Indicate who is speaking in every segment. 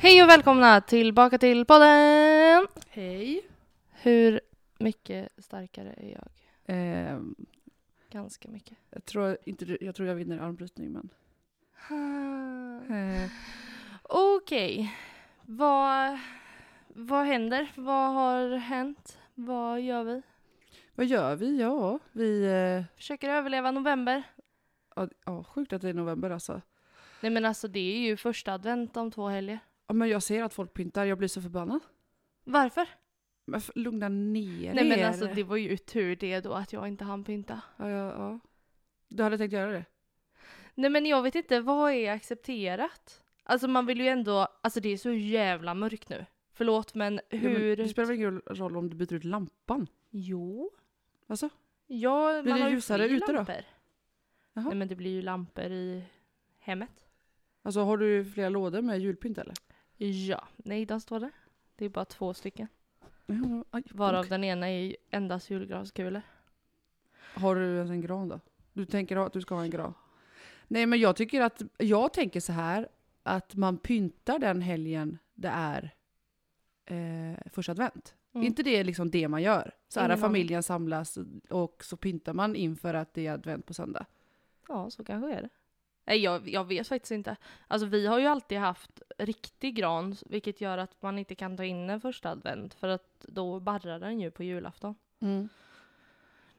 Speaker 1: Hej och välkomna tillbaka till podden!
Speaker 2: Hej.
Speaker 1: Hur mycket starkare är jag?
Speaker 2: Eh,
Speaker 1: Ganska mycket.
Speaker 2: jag, tror inte, du- jag tror jag vinner armbrytning men. Eh,
Speaker 1: Okej, vad, vad händer? Vad har hänt? Vad gör vi?
Speaker 2: vad gör vi? Ja, vi... Eh,
Speaker 1: Försöker överleva november?
Speaker 2: ja, ja, sjukt att det är november alltså.
Speaker 1: Nej men alltså det är ju första advent om två helger.
Speaker 2: Ja, men jag ser att folk pyntar, jag blir så förbannad.
Speaker 1: Varför?
Speaker 2: Men för, lugna ner
Speaker 1: Nej men
Speaker 2: er.
Speaker 1: alltså det var ju tur det då att jag inte hann pynta.
Speaker 2: Ja, ja, ja. Du hade tänkt göra det?
Speaker 1: Nej men jag vet inte, vad är accepterat? Alltså man vill ju ändå, alltså det är så jävla mörkt nu. Förlåt men
Speaker 2: Ja, men
Speaker 1: hur...
Speaker 2: det spelar väl ingen roll om du byter ut lampan?
Speaker 1: Jo.
Speaker 2: Alltså?
Speaker 1: Ja,
Speaker 2: Blir
Speaker 1: man
Speaker 2: det
Speaker 1: har ju
Speaker 2: ljusare
Speaker 1: fler
Speaker 2: ute då?
Speaker 1: lampor.
Speaker 2: Jaha.
Speaker 1: Nej men det blir ju lampor i hemmet.
Speaker 2: Alltså har du flera lådor med julpynt eller?
Speaker 1: Ja, nej de står där. Det är bara två stycken.
Speaker 2: Ja, aj,
Speaker 1: Varav
Speaker 2: bonk.
Speaker 1: den ena är ju endast julgranskulor.
Speaker 2: Har du ens en gran då? Du tänker ha- att du ska ha en gran? Nej men jag tycker att, jag tänker så här att man pyntar den helgen det är eh, första advent.
Speaker 1: Mm.
Speaker 2: Inte det är liksom det man gör. Så här
Speaker 1: Ingen
Speaker 2: att familjen samlas och så pyntar man inför att det är advent på söndag.
Speaker 1: Ja, så kanske är det. Nej, jag, jag vet faktiskt inte. Alltså vi har ju alltid haft riktig gran, vilket gör att man inte kan ta in den första advent, för att då barrar den ju på julafton.
Speaker 2: Mm.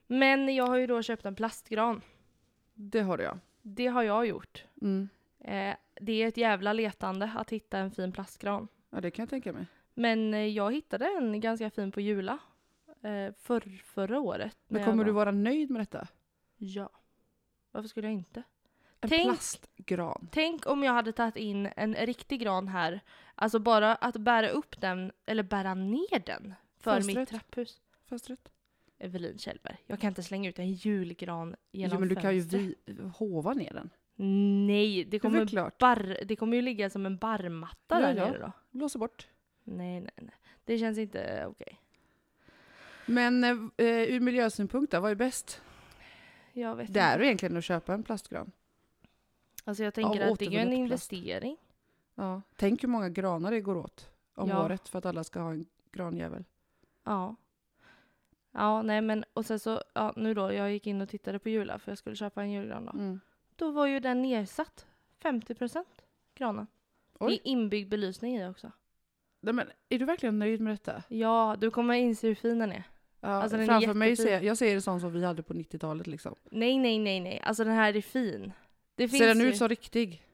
Speaker 1: Men jag har ju då köpt en plastgran.
Speaker 2: Det har jag.
Speaker 1: Det har jag gjort.
Speaker 2: Mm.
Speaker 1: Eh, det är ett jävla letande att hitta en fin plastgran.
Speaker 2: Ja det kan jag tänka mig.
Speaker 1: Men eh, jag hittade en ganska fin på Jula. Eh, för, förra året. när
Speaker 2: Men
Speaker 1: jag
Speaker 2: kommer du
Speaker 1: var-
Speaker 2: vara nöjd med detta?
Speaker 1: Ja. Varför skulle jag inte?
Speaker 2: En
Speaker 1: Tänk-
Speaker 2: plastgran.
Speaker 1: Tänk om jag hade tagit in en riktig gran här. Alltså bara att bära upp den, eller bära ner den. För mitt
Speaker 2: Fönstret.
Speaker 1: trapphus.
Speaker 2: Fönstret.
Speaker 1: Evelin Kjellberg. Jag kan inte slänga ut en julgran genom
Speaker 2: Jo men du kan ju
Speaker 1: fönstret.
Speaker 2: vi, hova ner den.
Speaker 1: Nej, det
Speaker 2: Det är väl
Speaker 1: kommer,
Speaker 2: klart.
Speaker 1: barr, det kommer ju ligga som en barrmatta
Speaker 2: Ja,
Speaker 1: där
Speaker 2: ja.
Speaker 1: nere då.
Speaker 2: Blåsa bort.
Speaker 1: Nej, nej, nej. Det känns inte okej.
Speaker 2: Men eh, eh, ur miljösynpunkt då, vad är bäst?
Speaker 1: Jag vet
Speaker 2: Det är
Speaker 1: inte.
Speaker 2: ju egentligen att köpa en plastgran.
Speaker 1: Alltså jag tänker
Speaker 2: Av
Speaker 1: att det är ju en
Speaker 2: återvunnet plast.
Speaker 1: investering.
Speaker 2: Ja. Tänk hur många granar det går åt om
Speaker 1: Ja.
Speaker 2: året för att alla ska ha en granjävel.
Speaker 1: Ja. Ja, nej men och sen så, ja, nu då, jag gick in och tittade på Jula för jag skulle köpa en julgran då.
Speaker 2: Mm.
Speaker 1: Då var ju den nedsatt 50 procent, granen. Det
Speaker 2: Oj.
Speaker 1: är inbyggd belysning i också.
Speaker 2: Nej, men är du verkligen nöjd med detta?
Speaker 1: Ja, du kommer inse hur fin den är.
Speaker 2: Ja,
Speaker 1: Alltså, den är
Speaker 2: framför mig
Speaker 1: jättefin.
Speaker 2: ser jag ser det sånt som vi hade på 90-talet liksom.
Speaker 1: Nej, nej, nej, nej. Alltså den här är fin. Det finns
Speaker 2: Ser den
Speaker 1: ju-
Speaker 2: ut som riktig?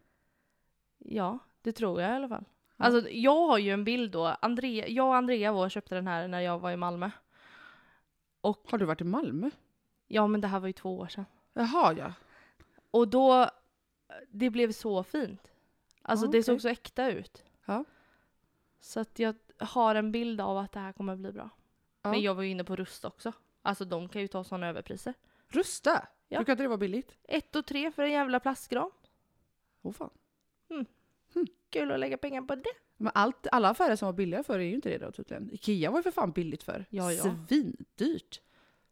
Speaker 1: Ja, det tror jag i alla fall.
Speaker 2: Ja.
Speaker 1: Alltså jag har ju en bild då. Andrea, jag och Andrea vår köpte den här när jag var i Malmö. Och
Speaker 2: Har du varit i Malmö?
Speaker 1: ja, men det här var ju två år sedan.
Speaker 2: Jaha ja.
Speaker 1: Och då, det blev så fint. Alltså
Speaker 2: Ja,
Speaker 1: det såg
Speaker 2: okej.
Speaker 1: så äkta ut.
Speaker 2: Ja.
Speaker 1: Så att jag har en bild av att det här kommer bli bra.
Speaker 2: Ja.
Speaker 1: Men jag var ju inne på Rust också. Alltså de kan ju ta sådana överpriser.
Speaker 2: Rusta!
Speaker 1: Ja.
Speaker 2: Brukar inte det vara billigt?
Speaker 1: Ett och tre för en jävla plastgran.
Speaker 2: Åh fan.
Speaker 1: Kul att lägga pengar på det.
Speaker 2: Men allt, alla affärer som var billiga för är ju inte det då tydligen. Ikea var ju för fan billigt för.
Speaker 1: Ja, ja.
Speaker 2: Svindyrt.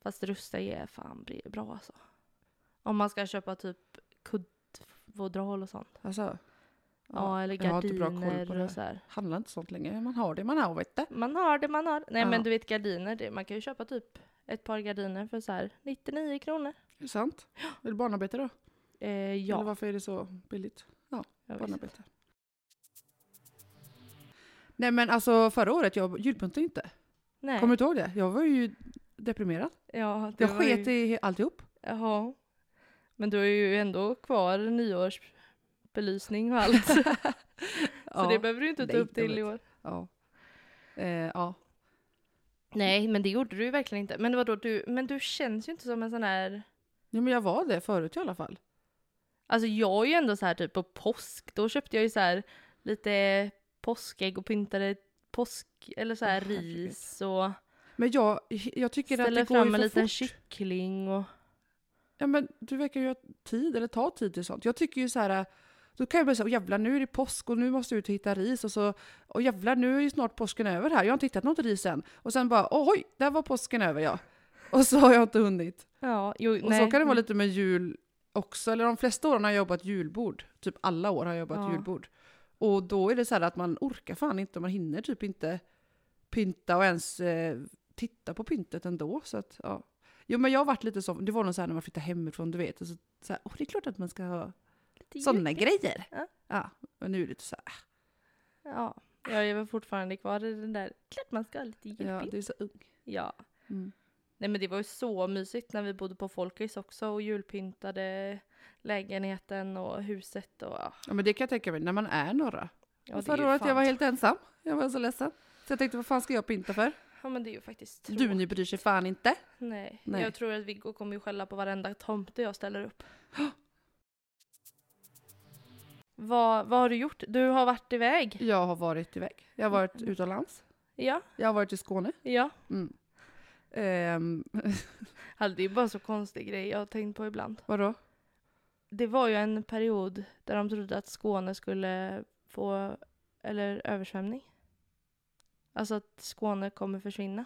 Speaker 1: Fast Rusta är fan bri- bra alltså. Om man ska köpa typ kuddfodral och sånt.
Speaker 2: Alltså,
Speaker 1: Ja, eller
Speaker 2: jag har inte bra koll på
Speaker 1: gardiner
Speaker 2: det.
Speaker 1: och så här.
Speaker 2: handla inte sånt längre. Man har det man har vet du.
Speaker 1: Man har det, man har det. Nej
Speaker 2: Ja.
Speaker 1: men du vet gardiner, det, man kan ju köpa typ ett par gardiner för så här 99 kronor.
Speaker 2: Är det sant? Är det barnarbete då?
Speaker 1: Eh,
Speaker 2: Eller
Speaker 1: ja,
Speaker 2: varför är det så billigt?
Speaker 1: jag vet.
Speaker 2: Barnarbete. Nej men alltså förra året, jag julpyntade inte.
Speaker 1: Nej.
Speaker 2: Kommer du inte ihåg det? Jag var ju deprimerad.
Speaker 1: Ja, det
Speaker 2: Jag
Speaker 1: var ju-
Speaker 2: sket i alltihop.
Speaker 1: Jaha. Men du är ju ändå kvar nyårsbelysning och allt. Så
Speaker 2: Ja.
Speaker 1: det behöver du inte ta
Speaker 2: Nej,
Speaker 1: upp till
Speaker 2: de
Speaker 1: i år.
Speaker 2: ja. Eh, ja.
Speaker 1: Nej, men det gjorde du ju verkligen inte. Men vadå, du, men du känns ju inte som en sån här...
Speaker 2: ja men jag var det förut i alla fall.
Speaker 1: Alltså jag är ju ändå så här typ på påsk, då köpte jag ju så här lite påskägg och pyntade påsk eller så här
Speaker 2: Åh, herregud.
Speaker 1: ris och
Speaker 2: Men jag, jag tycker att
Speaker 1: ställde
Speaker 2: det går ju
Speaker 1: fram
Speaker 2: för
Speaker 1: en liten
Speaker 2: fort.
Speaker 1: kyckling och...
Speaker 2: Ja men du verkar ju ha tid, eller ta tid till sånt. Jag tycker ju så här, då kan jag bli så här, "Åh, jävlar nu är det påsk och nu måste jag ut och hitta ris och så, och jävlar nu är ju snart påsken över här, jag har inte hittat något ris än. Och sen bara, oj, där var påsken över ja. Och så har jag inte hunnit.
Speaker 1: Ja, jo,
Speaker 2: Och så kan
Speaker 1: Mm.
Speaker 2: det vara lite med jul också, eller de flesta åren har jag jobbat julbord. Typ alla år har jag jobbat
Speaker 1: Ja.
Speaker 2: julbord. Och då är det så här att man orkar fan inte, man hinner typ inte pynta och ens eh, titta på pyntet ändå. Så att, ja. Jo men jag har varit lite så, det var nog så här när man flyttade hemifrån du vet, och så, så här, "Åh, det är klart att man ska ha sådana grejer.
Speaker 1: Ja.
Speaker 2: Ja, och nu är det lite så här,
Speaker 1: Ja, jag är väl fortfarande kvar i den där, klart man ska ha lite
Speaker 2: ja,
Speaker 1: julpynt.
Speaker 2: du är så ung.
Speaker 1: Ja.
Speaker 2: Mm.
Speaker 1: Nej men det var ju så mysigt när vi bodde på Folkis också och julpyntade lägenheten och huset och... ja,
Speaker 2: Ja men det kan jag tänka mig, när man är några.
Speaker 1: det
Speaker 2: jag
Speaker 1: är
Speaker 2: sa
Speaker 1: ju
Speaker 2: då att jag
Speaker 1: fan
Speaker 2: var helt ensam, jag var så ledsen. Så jag tänkte, vad fan ska jag pynta för?
Speaker 1: Ja men det är ju faktiskt tråkigt.
Speaker 2: Du, ni bryr sig fan inte.
Speaker 1: Nej.
Speaker 2: Nej.
Speaker 1: jag tror att Viggo kommer ju skälla på varenda tomte jag ställer upp. vad, vad har du gjort? Du har varit iväg?
Speaker 2: Jag har varit iväg, jag har varit utomlands,
Speaker 1: Ja,
Speaker 2: jag har varit i Skåne.
Speaker 1: ja.
Speaker 2: Mm. Ehm,
Speaker 1: Alltså, det är bara så konstig grej jag har tänkt på ibland.
Speaker 2: vadå?
Speaker 1: Det var ju en period där de trodde att Skåne skulle få eller översvämning. Alltså att Skåne kommer försvinna.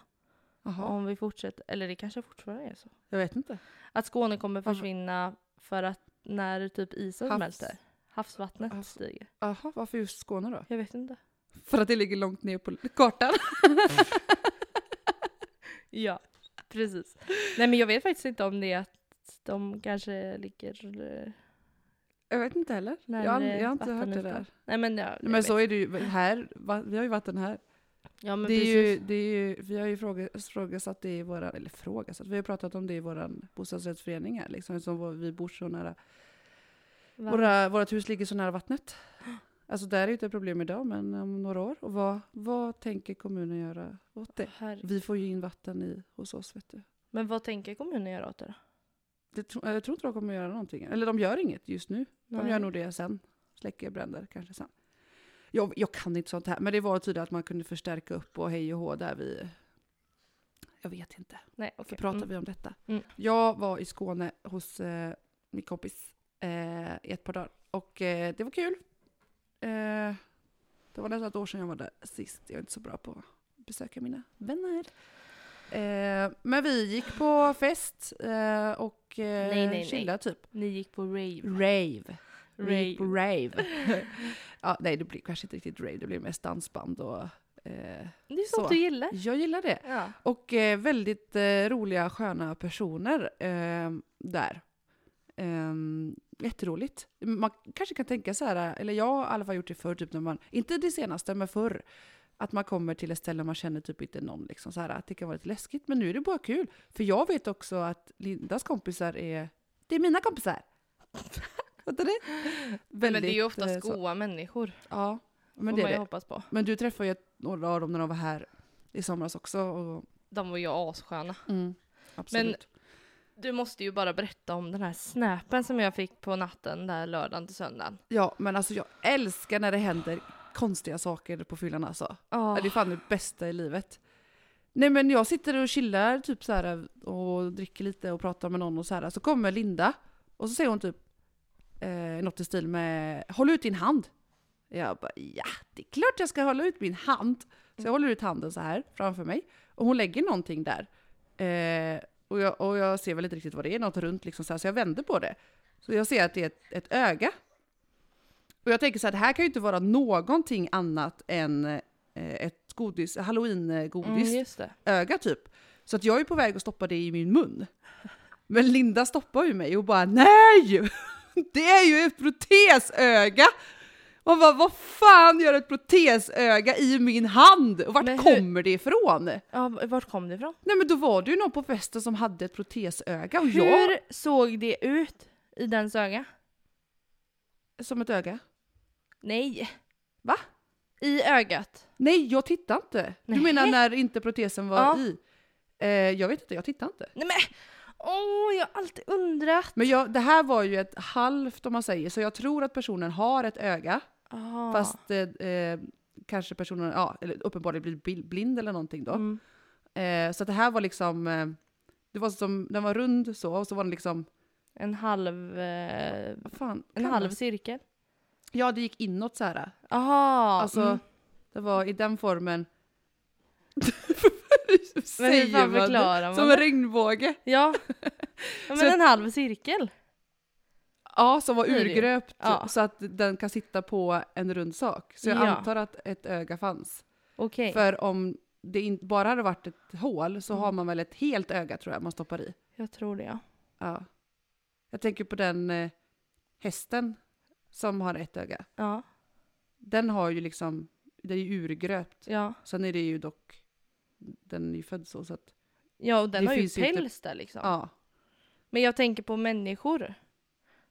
Speaker 2: Jaha,
Speaker 1: Om vi fortsätter, eller det kanske fortfarande är så.
Speaker 2: jag vet inte.
Speaker 1: Att Skåne kommer
Speaker 2: Varför?
Speaker 1: försvinna för att när typ isen
Speaker 2: Alltså- Havs-
Speaker 1: smälter. Havsvattnet
Speaker 2: Havs-
Speaker 1: stiger.
Speaker 2: Jaha, varför just Skåne då?
Speaker 1: Jag vet inte.
Speaker 2: För att det ligger långt ner på kartan.
Speaker 1: Ja, precis. Nej men jag vet faktiskt inte om det är att de kanske ligger eh,
Speaker 2: Jag vet inte heller. eh, Jag,
Speaker 1: närmare
Speaker 2: har aldrig- jag har inte hört det
Speaker 1: vattenytan.
Speaker 2: där.
Speaker 1: Nej men, ja, jag
Speaker 2: Men så
Speaker 1: vet.
Speaker 2: är det ju här. va- Vi har ju vatten här.
Speaker 1: ja, men
Speaker 2: det är
Speaker 1: precis.
Speaker 2: ju, det är ju, vi har ju fråga- frågasatt det i våra, eller frågasatt, vi har ju pratat om det i vår bostadsrättsförening här liksom, eftersom vår- vi bor så nära,
Speaker 1: Va?
Speaker 2: våra, vårt hus ligger så nära vattnet. Alltså där är ju inte ett problem idag, men om några år. Och vad, vad tänker kommunen göra åt det?
Speaker 1: Herregud.
Speaker 2: Vi får ju in vatten i, hos oss vet du.
Speaker 1: Men vad tänker kommunen göra åt det då?
Speaker 2: Det, tro- jag tror inte de kommer göra någonting. Eller de gör inget just nu. De
Speaker 1: Nej.
Speaker 2: gör nog det sen. Släcker bränder kanske sen. Jag, jag kan inte sånt här, men det var tydligt att man kunde förstärka upp och hej och hå där vi... Jag vet inte.
Speaker 1: Nej,
Speaker 2: Så
Speaker 1: okej.
Speaker 2: pratar
Speaker 1: Mm.
Speaker 2: vi om detta.
Speaker 1: Mm.
Speaker 2: Jag var i Skåne hos eh, min kompis eh, i ett par dagar och eh, det var kul. Eh, det var nästan ett år sedan jag var där sist. Jag är inte så bra på att besöka mina vänner. Eh, men vi gick på fest eh, och eh,
Speaker 1: Nej, nej, nej.
Speaker 2: chillade typ.
Speaker 1: Ni gick på rave.
Speaker 2: Rave. Vi gick på
Speaker 1: Rave.
Speaker 2: rave. ja, nej, det blev kanske inte riktigt rave. Det blev mest dansband och... Eh,
Speaker 1: Det är
Speaker 2: Så.
Speaker 1: sånt du gillar.
Speaker 2: jag gillar det.
Speaker 1: Ja.
Speaker 2: Och eh, väldigt eh, roliga, sköna personer eh, där. Eh, jätteroligt. Man kanske kan tänka så här, eller jag har i alla fall gjort det förr, typ när man, inte det senaste, men förr. Att man kommer till ett ställe och man känner typ inte någon. Liksom, så här, att det kan vara lite läskigt, men nu är det bara kul. För jag vet också att Lindas kompisar är, det är mina kompisar. Fattar du?
Speaker 1: men det är ju ofta
Speaker 2: eh, så-
Speaker 1: goa människor.
Speaker 2: Ja, men
Speaker 1: Men
Speaker 2: det
Speaker 1: det man
Speaker 2: är
Speaker 1: ju
Speaker 2: det.
Speaker 1: hoppas på.
Speaker 2: Men du träffade ju några av dem när de var här i somras också. Och,
Speaker 1: De var ju assköna.
Speaker 2: absolut.
Speaker 1: Du måste ju bara berätta om den här snäpen som jag fick på natten där lördagen till söndagen.
Speaker 2: Ja, men alltså jag älskar när det händer konstiga saker på fyllan alltså.
Speaker 1: Oh.
Speaker 2: Det är fan det bästa i livet. Nej men jag sitter och chillar typ så här och dricker lite och pratar med någon och så här. Så kommer Linda och så säger hon typ eh, något i stil med Håll ut din hand. Jag bara ja, det är klart jag ska hålla ut min hand. Så jag håller ut handen så här framför mig och hon lägger någonting där. Eh, och, jag, och jag ser väl inte riktigt vad det är, något runt liksom så här, så jag vänder på det. Så jag ser att det är ett, ett öga. Och jag tänker så här, det här kan ju inte vara någonting annat än eh, ett godis, halloween-godis
Speaker 1: mm, just det.
Speaker 2: öga typ. Så att jag är på väg att stoppa det i min mun. Men Linda stoppar ju mig och bara NEJ! Det är ju ett protesöga! Och bara, vad fan gör ett protesöga i min hand? Och vart
Speaker 1: Men hur-
Speaker 2: kommer det ifrån?
Speaker 1: Ja, vart kom det ifrån?
Speaker 2: Nej men då var det ju någon på festen som hade ett protesöga och jag
Speaker 1: Hur såg det ut i dens öga?
Speaker 2: som ett öga.
Speaker 1: Nej.
Speaker 2: Va?
Speaker 1: I ögat?
Speaker 2: Nej, jag tittar inte. Du
Speaker 1: Nej.
Speaker 2: menar när inte protesen var
Speaker 1: Ja.
Speaker 2: i? Eh, jag vet inte, jag tittar inte.
Speaker 1: Nej men! Åh, jag har alltid undrat.
Speaker 2: Men jag, det här var ju ett halvt om man säger, så jag tror att personen har ett öga.
Speaker 1: Ah.
Speaker 2: Fast eh, eh, kanske personen ja, eller uppenbarligen blir bil- blind eller någonting då.
Speaker 1: Mm.
Speaker 2: Eh, så att det här var liksom, eh, det var som, den var rund så och så var den liksom,
Speaker 1: En halv... Eh,
Speaker 2: vad fan,
Speaker 1: en
Speaker 2: kallas-
Speaker 1: halv cirkel?
Speaker 2: Ja det gick inåt så här.
Speaker 1: Jaha!
Speaker 2: alltså
Speaker 1: mm.
Speaker 2: det var i den formen.
Speaker 1: Men hur fan
Speaker 2: det?
Speaker 1: förklarar man
Speaker 2: Som
Speaker 1: det?
Speaker 2: en regnbåge.
Speaker 1: Ja. ja men
Speaker 2: Så-
Speaker 1: en halv cirkel?
Speaker 2: Ja, som var
Speaker 1: Det är det ju.
Speaker 2: urgröpt
Speaker 1: Ja.
Speaker 2: så att den kan sitta på en rund sak. Så jag
Speaker 1: Ja.
Speaker 2: antar att ett öga fanns.
Speaker 1: Okej.
Speaker 2: För om det in, bara hade varit ett hål så har man väl ett helt öga tror jag man stoppar i.
Speaker 1: Jag tror det ja.
Speaker 2: Ja. Jag tänker på den eh, hästen som har ett öga.
Speaker 1: Ja.
Speaker 2: Den har ju liksom, det är ju urgröpt.
Speaker 1: Ja,
Speaker 2: Sen är det ju dock, den är ju född så så att,
Speaker 1: ja och den
Speaker 2: Det
Speaker 1: har ju
Speaker 2: finns ju inte-
Speaker 1: päls där liksom.
Speaker 2: ja.
Speaker 1: Men jag tänker på människor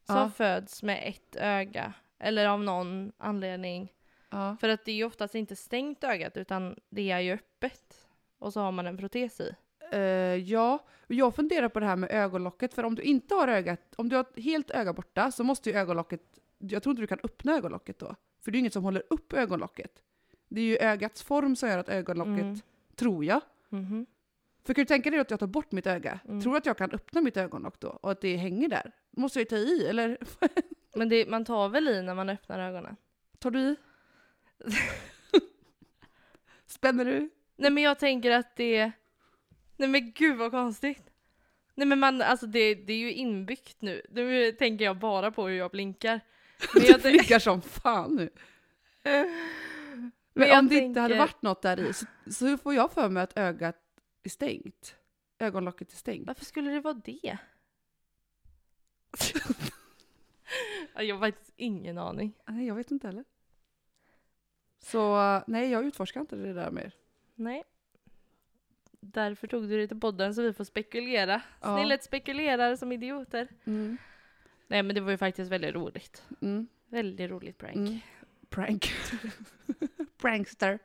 Speaker 1: som
Speaker 2: Ja.
Speaker 1: föds med ett öga. Eller av någon anledning.
Speaker 2: ja.
Speaker 1: För att det är ju oftast inte stängt ögat utan det är ju öppet. Och så har man en protes i.
Speaker 2: Eh, ja, men jag funderar på det här med ögonlocket. För om du inte har ögat, om du har ett helt öga borta så måste ju ögonlocket, jag tror inte du kan öppna ögonlocket då. För det är ju inget som håller upp ögonlocket. Det är ju ögats form som gör att ögonlocket,
Speaker 1: Mm.
Speaker 2: tror jag.
Speaker 1: Mhm.
Speaker 2: För kan du tänka dig att jag tar bort mitt öga?
Speaker 1: Mm.
Speaker 2: Tror du att jag kan öppna mitt ögonlock då? Och att det hänger där? Måste jag ju ta i, eller?
Speaker 1: Men det, man tar väl i när man öppnar ögonen?
Speaker 2: Tar du i? Spänner du?
Speaker 1: Nej men jag tänker att det... Nej men gud vad konstigt. Nej men man, alltså det, det är ju inbyggt nu. Nu tänker jag bara på hur jag blinkar. Men
Speaker 2: Du
Speaker 1: jag, tänk-
Speaker 2: blinkar som fan nu. Men,
Speaker 1: jag
Speaker 2: om det inte hade
Speaker 1: tänker-
Speaker 2: varit något där i så, så får jag för mig att ögat är stängt. Ögonlocket är stängt.
Speaker 1: Varför skulle det vara det? Ja, jag har faktiskt ingen aning.
Speaker 2: Nej, jag vet inte heller. Så eh, nej, jag utforskar inte det där mer.
Speaker 1: Nej. Därför tog du det till podden så vi får spekulera.
Speaker 2: Ja.
Speaker 1: Snillet spekulerar som idioter.
Speaker 2: Mm.
Speaker 1: Nej men det var ju faktiskt väldigt roligt.
Speaker 2: Mm.
Speaker 1: Väldigt roligt prank.
Speaker 2: Mm. Prank. Prankster.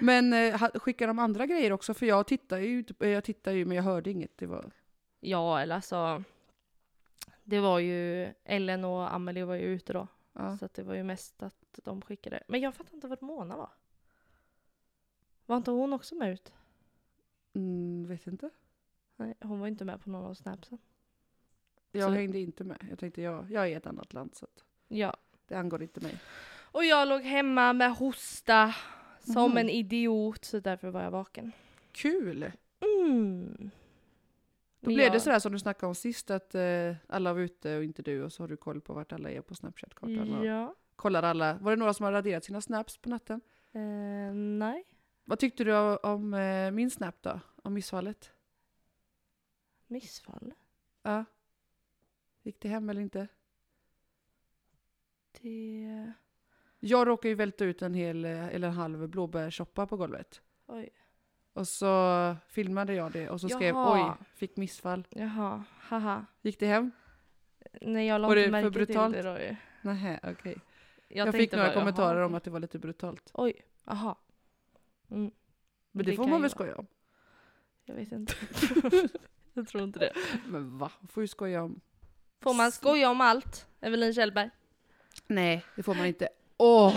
Speaker 2: Men eh, ha- skickar de andra grejer också? För jag tittar ju, inte- eh, jag tittar ju men jag hörde inget. Det var...
Speaker 1: Ja eller alltså. Det var ju Ellen och Amelie var ju ute då.
Speaker 2: Ja.
Speaker 1: Så att det var ju mest att de skickade. Men jag fattar inte vart Mona var. Var inte hon också med ut?
Speaker 2: Mm, vet inte.
Speaker 1: Nej, hon var ju inte med på någon av snapsen.
Speaker 2: Jag
Speaker 1: Så-
Speaker 2: hängde inte med. Jag tänkte jag, jag är i ett annat land så att
Speaker 1: Ja,
Speaker 2: det angår inte mig.
Speaker 1: Och jag låg hemma med hosta som
Speaker 2: Mhm.
Speaker 1: en idiot, så därför var jag vaken.
Speaker 2: Kul!
Speaker 1: Mm.
Speaker 2: Då blev det sådär som du snackade om sist, att eh, alla var ute och inte du och så har du koll på vart alla är på Snapchat-kartan. och
Speaker 1: Ja.
Speaker 2: Kollar alla. Var det några som har raderat sina snaps på natten?
Speaker 1: Eh, nej.
Speaker 2: Vad tyckte du o- om eh, min snap då? Om missfallet?
Speaker 1: Missfall?
Speaker 2: Ja. Gick det hem eller inte?
Speaker 1: Det...
Speaker 2: Jag råkade ju välta ut en hel, eh, eller en halv blåbärssoppa på golvet.
Speaker 1: Oj.
Speaker 2: Och så filmade jag det och så skrev
Speaker 1: Jaha.
Speaker 2: oj, fick missfall.
Speaker 1: Jaha. Haha.
Speaker 2: Gick det hem?
Speaker 1: Nej, jag la
Speaker 2: Var det
Speaker 1: inte
Speaker 2: för
Speaker 1: märke
Speaker 2: brutalt?
Speaker 1: till det då ju.
Speaker 2: Nähä, okej.
Speaker 1: Jag,
Speaker 2: Jag, fick
Speaker 1: tänkte
Speaker 2: några
Speaker 1: bara, jaha,
Speaker 2: kommentarer om
Speaker 1: okej.
Speaker 2: att det var lite brutalt.
Speaker 1: Oj. Aha. Mm.
Speaker 2: Men det,
Speaker 1: Det
Speaker 2: får
Speaker 1: kan
Speaker 2: man
Speaker 1: ju
Speaker 2: väl
Speaker 1: vara.
Speaker 2: skoja om?
Speaker 1: Jag vet inte. jag tror inte det.
Speaker 2: Men va? Får ju skoja om
Speaker 1: Får man skoja om allt? Evelin Kjellberg?
Speaker 2: Nej, det får man inte. Åh!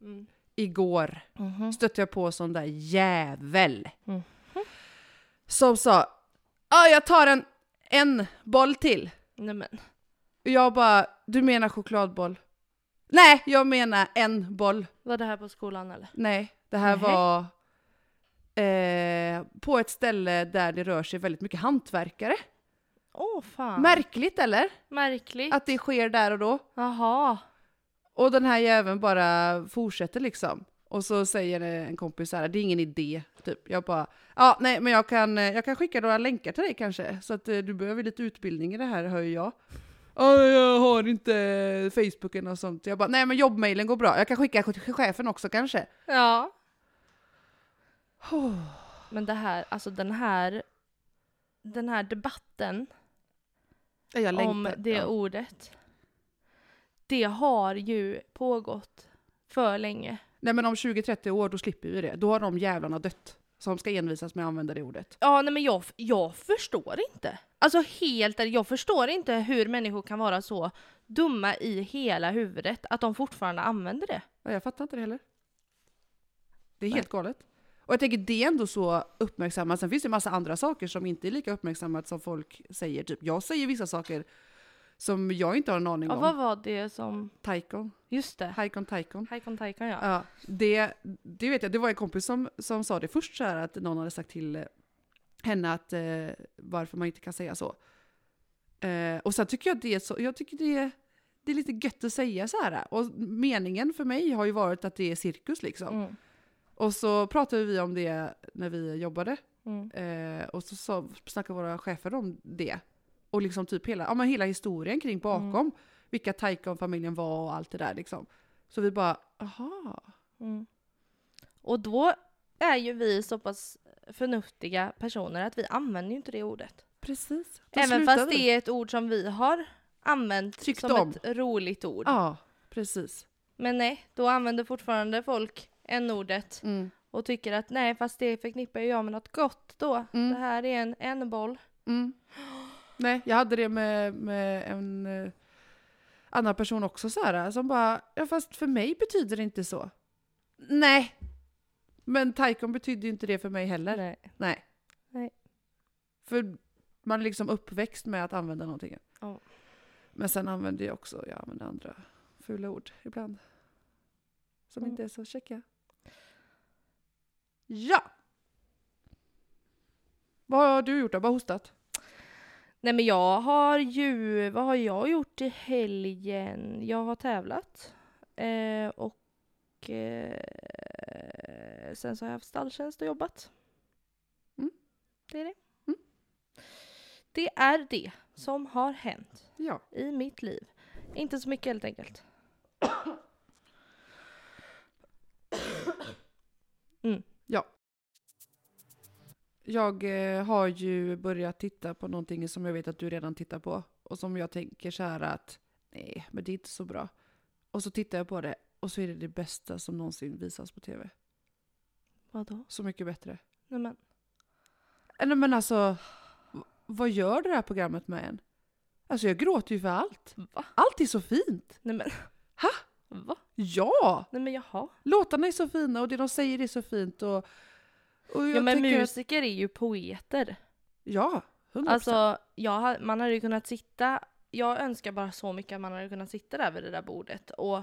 Speaker 1: Mm.
Speaker 2: Igår
Speaker 1: Mhm.
Speaker 2: stötte jag på en sån där jävel.
Speaker 1: Mhm.
Speaker 2: Som sa ja jag tar en, en boll till.
Speaker 1: Nej men.
Speaker 2: Och jag bara, du menar chokladboll? Nej, jag menar en boll.
Speaker 1: Var det här på skolan eller?
Speaker 2: Nej, det här
Speaker 1: Nej.
Speaker 2: var eh, på ett ställe där det rör sig väldigt mycket hantverkare.
Speaker 1: Åh fan.
Speaker 2: Märkligt eller?
Speaker 1: Märkligt.
Speaker 2: Att det sker där och då.
Speaker 1: Jaha.
Speaker 2: Och den här jäveln bara fortsätter liksom. Och så säger en kompis så här, det är ingen idé. Typ. Jag bara, ja nej men jag kan, eh, jag kan skicka några länkar till dig kanske. Så att eh, du behöver lite utbildning i det här hör ju jag. Ja, jag har inte Facebook eller något sånt. Jag bara, nej men jobbmailen går bra. Jag kan skicka till chefen också kanske.
Speaker 1: Ja. Men det här, alltså den här, den här debatten
Speaker 2: Jag
Speaker 1: om det ordet. Det har ju pågått för länge.
Speaker 2: Nej men om 20-30 år då slipper vi det. Då har de jävlarna dött. Som ska envisas med att använda det ordet.
Speaker 1: Ja, nej men jag, jag förstår inte. Alltså helt ärligt, jag förstår inte hur människor kan vara så dumma i hela huvudet att de fortfarande använder det.
Speaker 2: Ja, jag fattar inte det heller. Det är helt galet. Och jag tänker det är ändå så uppmärksammat. Sen finns det en massa andra saker som inte är lika uppmärksammat som folk säger. Typ jag säger vissa saker som jag inte har en aning
Speaker 1: Ja,
Speaker 2: om.
Speaker 1: vad var det som...
Speaker 2: Taikon.
Speaker 1: Just det.
Speaker 2: Haikon Taikon.
Speaker 1: Haikon Taikon ja.
Speaker 2: Ja, det, det vet jag. Det var en kompis som, som sa det först så här att någon hade sagt till eh, henne att eh, varför man inte kan säga så. Eh, och sen tycker jag att det är så, jag tycker det är, det är lite gött att säga så här. Och meningen för mig har ju varit att det är cirkus liksom.
Speaker 1: Mm.
Speaker 2: Och så pratade vi om det när vi jobbade.
Speaker 1: Mm.
Speaker 2: Eh, och så sa, snackade våra chefer om det. Och liksom typ hela, ja, men hela historien kring bakom.
Speaker 1: Mm.
Speaker 2: Vilka Taikon-familjen var och allt det där liksom. Så vi bara, aha.
Speaker 1: Mm. Och då är ju vi så pass förnuftiga personer att vi använder ju inte det ordet.
Speaker 2: Precis.
Speaker 1: Även fast det är ett ord som vi har använt
Speaker 2: Tyckt
Speaker 1: som
Speaker 2: om.
Speaker 1: ett roligt ord.
Speaker 2: Ja, precis.
Speaker 1: Men nej, då använder fortfarande folk n-ordet
Speaker 2: Mm.
Speaker 1: och tycker att nej, fast det förknippar ju jag med något gott då.
Speaker 2: Mm.
Speaker 1: Det här är en n-boll.
Speaker 2: Mm. Nej, jag hade det med, med en eh, annan person också så här, som bara, ja fast för mig betyder det inte så. Nej. Men taikon betyder ju inte det för mig heller.
Speaker 1: Nej.
Speaker 2: Nej.
Speaker 1: Nej.
Speaker 2: För man är liksom uppväxt med att använda någonting.
Speaker 1: Ja.
Speaker 2: Men sen använder jag också, jag använder andra fula ord ibland. Som
Speaker 1: Mm.
Speaker 2: inte är så käcka. Ja! Vad har du gjort då? Bara hostat?
Speaker 1: nej, men jag har ju, vad har jag gjort i helgen? Jag har tävlat eh, och eh, sen så har jag haft stalltjänst och jobbat.
Speaker 2: Mm.
Speaker 1: Det är det.
Speaker 2: Mm.
Speaker 1: Det är det som har hänt.
Speaker 2: Ja.
Speaker 1: i mitt liv. Inte så mycket helt enkelt.
Speaker 2: Jag eh, har ju börjat titta på någonting som jag vet att du redan tittar på. Och som jag tänker så här att nej, men det är inte så bra. Och så tittar jag på det och så är det det bästa som någonsin visas på tv.
Speaker 1: Vadå?
Speaker 2: Så mycket bättre.
Speaker 1: Nej men,
Speaker 2: Eller men alltså, v- vad gör det här programmet med en? Alltså jag gråter ju för allt.
Speaker 1: va?
Speaker 2: Allt är så fint.
Speaker 1: Nej men.
Speaker 2: Ha?
Speaker 1: Va?
Speaker 2: Ja!
Speaker 1: Nej men jaha.
Speaker 2: Låtarna är så fina och det de säger är så fint och... och jag
Speaker 1: Ja men
Speaker 2: tänker att-
Speaker 1: musiker är ju poeter.
Speaker 2: Ja, 100%.
Speaker 1: Alltså, jag, ha- man hade ju kunnat sitta, jag önskar bara så mycket att man hade kunnat sitta där vid det där bordet och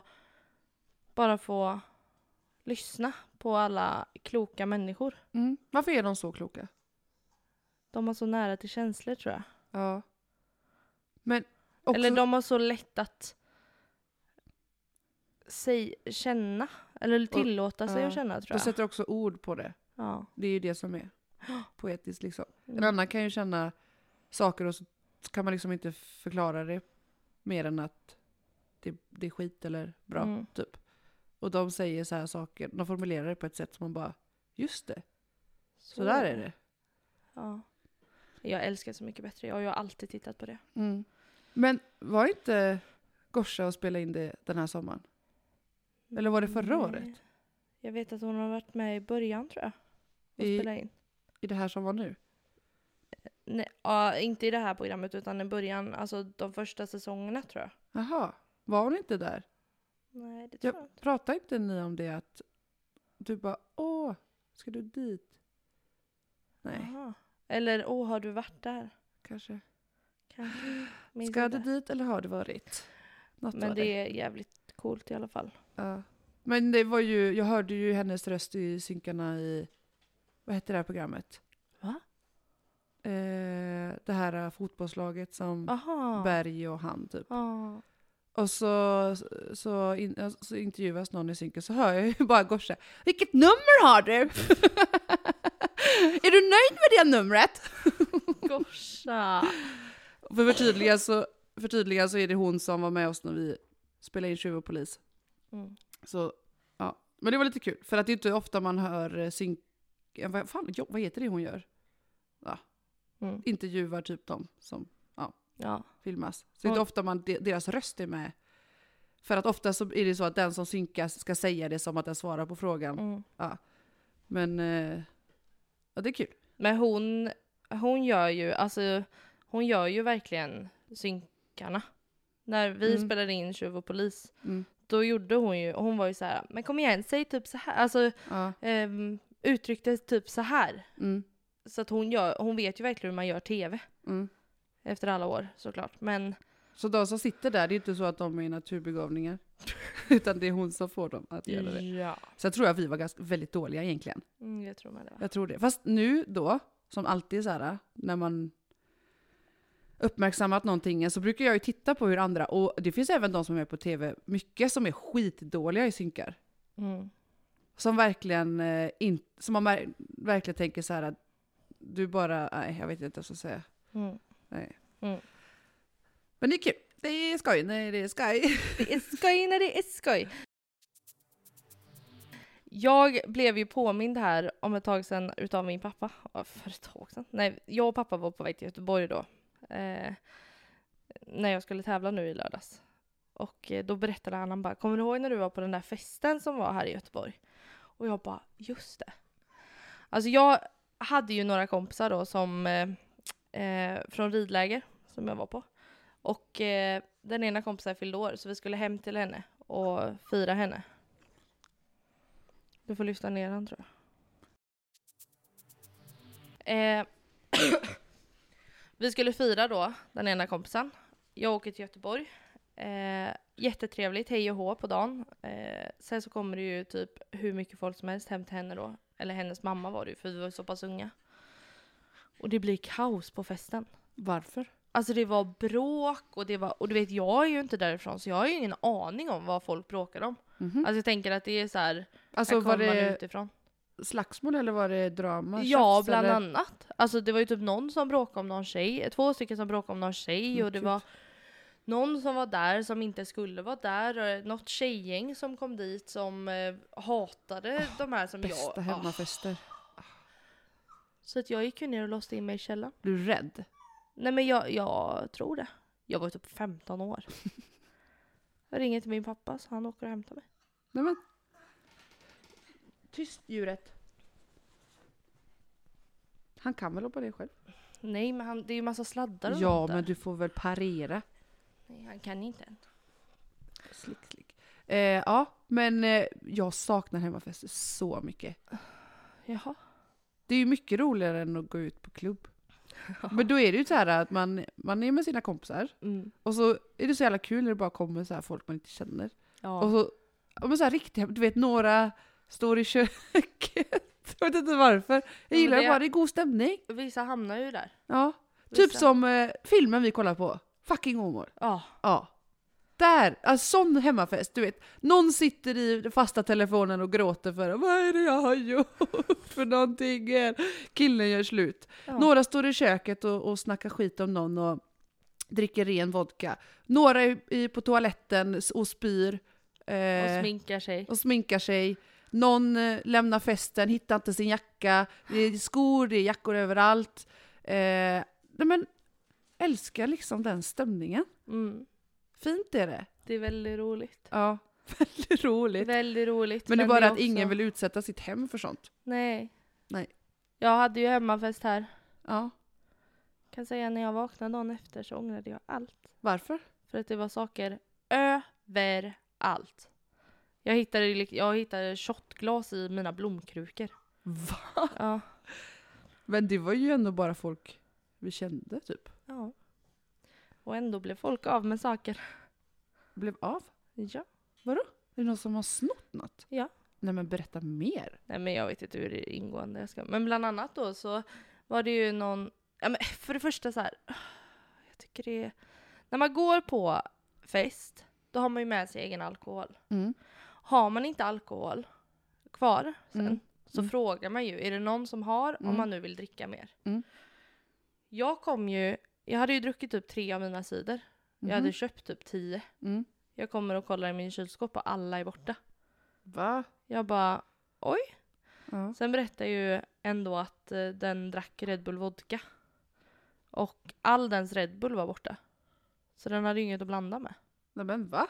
Speaker 1: bara få lyssna på alla kloka människor.
Speaker 2: mm. Varför är de så kloka?
Speaker 1: De har så nära till känslor tror jag.
Speaker 2: Ja. Men också...
Speaker 1: Eller de har så lätt att sig, känna, eller tillåta sig
Speaker 2: ja.
Speaker 1: att känna tror
Speaker 2: De
Speaker 1: jag.
Speaker 2: sätter också ord på det.
Speaker 1: Ja.
Speaker 2: Det är ju det som är poetiskt liksom. En
Speaker 1: Mm.
Speaker 2: annan kan ju känna saker och så kan man liksom inte förklara det mer än att det, det är skit eller bra.
Speaker 1: Mm.
Speaker 2: Typ. Och de säger så här saker, de formulerar det på ett sätt som man bara, just det, så där är det.
Speaker 1: Ja. Jag älskar Så mycket bättre. Jag har ju alltid tittat på det.
Speaker 2: Mm. Men var inte Gorsa och spelade in det den här sommaren? Eller var det förra
Speaker 1: Nej.
Speaker 2: året?
Speaker 1: Mm. Jag vet att hon har varit med i början tror jag. Och
Speaker 2: I-
Speaker 1: spelade in.
Speaker 2: I det här som var nu?
Speaker 1: Nej, ja, inte i det här programmet utan i början, alltså de första säsongerna tror jag.
Speaker 2: Jaha, var hon inte där?
Speaker 1: Nej, det tror
Speaker 2: Ja.
Speaker 1: jag inte.
Speaker 2: Pratade inte ni om det att du bara, åh, ska du dit? Nej,
Speaker 1: Aha. Eller, åh, har du varit där?
Speaker 2: kanske.
Speaker 1: Kanske. Minns
Speaker 2: Ska
Speaker 1: inte.
Speaker 2: du dit eller har du varit? Något
Speaker 1: Men
Speaker 2: var
Speaker 1: det är jävligt coolt i alla fall.
Speaker 2: Ja. Men det var ju, jag hörde ju hennes röst i synkarna i, vad hette det här programmet?
Speaker 1: Va?
Speaker 2: Eh, det här eh, fotbollslaget som
Speaker 1: Aha.
Speaker 2: Berg och han typ.
Speaker 1: Ja.
Speaker 2: Och så, så, in, så intervjuas någon i synken så hör jag ju bara Gorsa. Vilket nummer har du? är du nöjd med det numret?
Speaker 1: Gorsa.
Speaker 2: För förtydliga så, förtydliga så är det hon som var med oss när vi spelade in Tjuv och polis.
Speaker 1: Mm.
Speaker 2: Så, ja. Men det var lite kul, för att det är inte ofta man hör eh, syn... ja, Vad, fan, jo, vad heter det hon gör?
Speaker 1: Mm.
Speaker 2: Intervjuar typ de som
Speaker 1: Ja.
Speaker 2: filmas. Så det är inte
Speaker 1: Ja.
Speaker 2: ofta man, de- deras röst är med. För att ofta så är det så att den som synkas ska säga det som att den svarar på frågan.
Speaker 1: Mm.
Speaker 2: Men eh, ja, det är kul.
Speaker 1: Men hon, hon gör ju, alltså hon gör ju verkligen synkarna. När vi
Speaker 2: Mm.
Speaker 1: spelade in Tjuv och polis,
Speaker 2: Mm.
Speaker 1: då gjorde hon ju, hon var ju så här, men kom igen, säg typ så här, alltså
Speaker 2: Ja,
Speaker 1: ehm, uttryckte typ så här.
Speaker 2: mm,
Speaker 1: Så att hon gör, hon vet ju verkligen hur man gör tv
Speaker 2: mm.
Speaker 1: efter alla år såklart. Men
Speaker 2: Så de som sitter där, det är inte så att de är naturbegåvningar. Utan det är hon som får dem att göra det.
Speaker 1: ja,
Speaker 2: Sen tror jag att vi var ganska, väldigt dåliga egentligen.
Speaker 1: mm, jag tror med det.
Speaker 2: Jag tror det. Fast nu då, som alltid så här, när man uppmärksammat någonting än så brukar jag ju titta på hur andra, och det finns även de som är med på TV mycket som är skitdåliga i synkar.
Speaker 1: Mm.
Speaker 2: Som verkligen, eh, in, som man ver- verkligen tänker så här att du bara, nej jag vet inte vad jag ska säga.
Speaker 1: Mm.
Speaker 2: Nej.
Speaker 1: Mm.
Speaker 2: Men det är kul. Det är skoj. Nej, det är skoj.
Speaker 1: Det är skoj när det är skoj. Jag blev ju påmind här om ett tag sedan utav min pappa. Ja, För ett tag sedan? Nej, jag och pappa var på väg till Göteborg då. Eh, när jag skulle tävla nu i lördags. Och eh, då berättade han, han bara, kommer du ihåg när du var på den där festen som var här i Göteborg? Och jag bara, just det. Alltså jag hade ju några kompisar då som, eh, eh, från ridläger som jag var på. Och eh, den ena kompisen fyllde år så vi skulle hem till henne och fira henne. Du får lyfta ner den tror jag. Eh, vi skulle fira då, den ena kompisen. Jag åker till Göteborg. Eh, jättetrevligt, hej och hå på dagen. Eh, sen så kommer det ju typ hur mycket folk som helst hem till henne då. Eller hennes mamma var det ju, för vi var ju så pass unga. Och det blir kaos på festen.
Speaker 2: Varför?
Speaker 1: Alltså det var bråk och det var, och du vet jag är ju inte därifrån så jag har ju ingen aning om vad folk bråkar om. Alltså jag tänker att det är så här,
Speaker 2: Mhm. Alltså
Speaker 1: här
Speaker 2: var
Speaker 1: kommer man
Speaker 2: det
Speaker 1: utifrån.
Speaker 2: slagsmål eller var det drama?
Speaker 1: Ja,
Speaker 2: tjafs,
Speaker 1: bland
Speaker 2: eller?
Speaker 1: annat. Alltså det var ju typ någon som bråkade om någon tjej, två stycken som bråkade om någon tjej
Speaker 2: Men
Speaker 1: och det
Speaker 2: Mm, gud.
Speaker 1: var någon som var där som inte skulle vara där och något tjejgäng som kom dit som eh, hatade de här som
Speaker 2: Bästa
Speaker 1: jag... Ah.
Speaker 2: hemmafester.
Speaker 1: Så att jag gick ju ner och låste in mig i källaren.
Speaker 2: Blir du rädd?
Speaker 1: Nej men jag, jag tror det. Jag var typ 15 år. Jag ringer till min pappa så han åker och hämtar mig.
Speaker 2: Nej men. Tyst djuret. Han kan väl hoppa ner själv?
Speaker 1: Nej men han, det är ju massa sladdar och
Speaker 2: Ja,
Speaker 1: sånt där.
Speaker 2: men du får väl parera.
Speaker 1: Nej, han kan inte än.
Speaker 2: Slick, slick. Eh, ja, men eh, jag saknar hemmafester så mycket.
Speaker 1: Jaha.
Speaker 2: Det är ju mycket roligare än att gå ut på klubb. Men då är det ju så här att man, man är med sina kompisar
Speaker 1: Mm.
Speaker 2: och så är det så jävla kul när det bara kommer så här folk man inte känner.
Speaker 1: Ja.
Speaker 2: Och så, ja, men så här riktiga, du vet några står i köket. Jag vet inte varför. Jag
Speaker 1: men
Speaker 2: gillar
Speaker 1: det-
Speaker 2: det bara, det är god stämning.
Speaker 1: Vissa hamnar ju där.
Speaker 2: Ja. Typ
Speaker 1: Vissa.
Speaker 2: som eh, filmen vi kollar på, Fucking Omor.
Speaker 1: Ja.
Speaker 2: Ja. Där, alltså sån hemmafest, du vet. Någon sitter i den fasta telefonen och gråter för vad är det jag har gjort för någonting? här?" Killen gör slut.
Speaker 1: ja.
Speaker 2: Några står i köket och, och snackar skit om någon och dricker ren vodka. Några är i, på toaletten s- och spyr. eh,
Speaker 1: Och sminkar sig.
Speaker 2: och sminkar sig. Någon eh, lämnar festen, hittar inte sin jacka. Det är skor, det är jackor överallt. Eh, nej men, älskar liksom den stämningen.
Speaker 1: Mm.
Speaker 2: Fint är det.
Speaker 1: Det är väldigt roligt.
Speaker 2: Ja, väldigt
Speaker 1: Det är
Speaker 2: roligt.
Speaker 1: väldigt roligt.
Speaker 2: Men det är bara
Speaker 1: jag
Speaker 2: att ingen
Speaker 1: också-
Speaker 2: vill utsätta sitt hem för sånt.
Speaker 1: Nej.
Speaker 2: Nej.
Speaker 1: Jag hade ju hemmafest här.
Speaker 2: Ja,
Speaker 1: Kan säga när jag vaknade dagen efter så ångrade jag allt.
Speaker 2: varför?
Speaker 1: För att det var saker överallt. Jag hittade, ju lik- jag hittade shotglas i mina blomkrukor.
Speaker 2: Va?
Speaker 1: Ja.
Speaker 2: Men det var ju ändå bara folk vi kände typ.
Speaker 1: ja. Och ändå blev folk av med saker.
Speaker 2: Blev av.
Speaker 1: Ja.
Speaker 2: Är det någon som har snott något?
Speaker 1: Ja.
Speaker 2: Nej men berätta mer.
Speaker 1: Nej men jag vet inte hur det är ingående jag ska... Men bland annat då så var det ju någon... Ja, men för det första så här. Jag tycker det är... När man går på fest, då har man ju med sig egen alkohol.
Speaker 2: Mm.
Speaker 1: Har man inte alkohol kvar sen,
Speaker 2: Mm.
Speaker 1: så
Speaker 2: Mm.
Speaker 1: frågar man ju, är det någon som har om
Speaker 2: Mm.
Speaker 1: man nu vill dricka mer?
Speaker 2: Mm.
Speaker 1: Jag kom ju, jag hade ju druckit typ tre av mina cider. Jag
Speaker 2: Mhm.
Speaker 1: hade köpt typ tio.
Speaker 2: Mm.
Speaker 1: Jag kommer och kollar i min kylskåp och alla är borta.
Speaker 2: Va?
Speaker 1: Jag bara,
Speaker 2: Ja.
Speaker 1: Sen berättar ju ändå att eh, den drack Red Bull vodka. Och all dens Red Bull var borta. Så den hade ju inget att blanda med.
Speaker 2: Nej men va?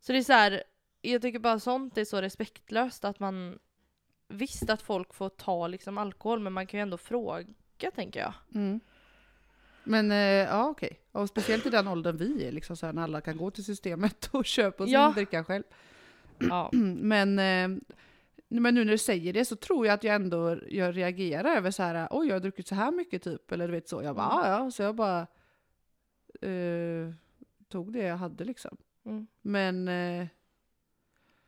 Speaker 1: Så det är så här, jag tycker bara sånt är så respektlöst att man visst att folk får ta liksom alkohol men man kan ju ändå fråga tänker jag.
Speaker 2: Mm. Men eh, ja okej. Och speciellt i den åldern vi är liksom så här, när alla kan gå till systemet och köpa sin
Speaker 1: Ja.
Speaker 2: dricka själv.
Speaker 1: Ja.
Speaker 2: Men, eh, men nu när du säger det så tror jag att jag ändå jag reagerar över så här, oj jag har druckit så här mycket typ. Eller du vet så. Jag bara
Speaker 1: Mm.
Speaker 2: "Ah, ja, så jag bara eh, tog det jag hade liksom.
Speaker 1: Mm.
Speaker 2: Men eh,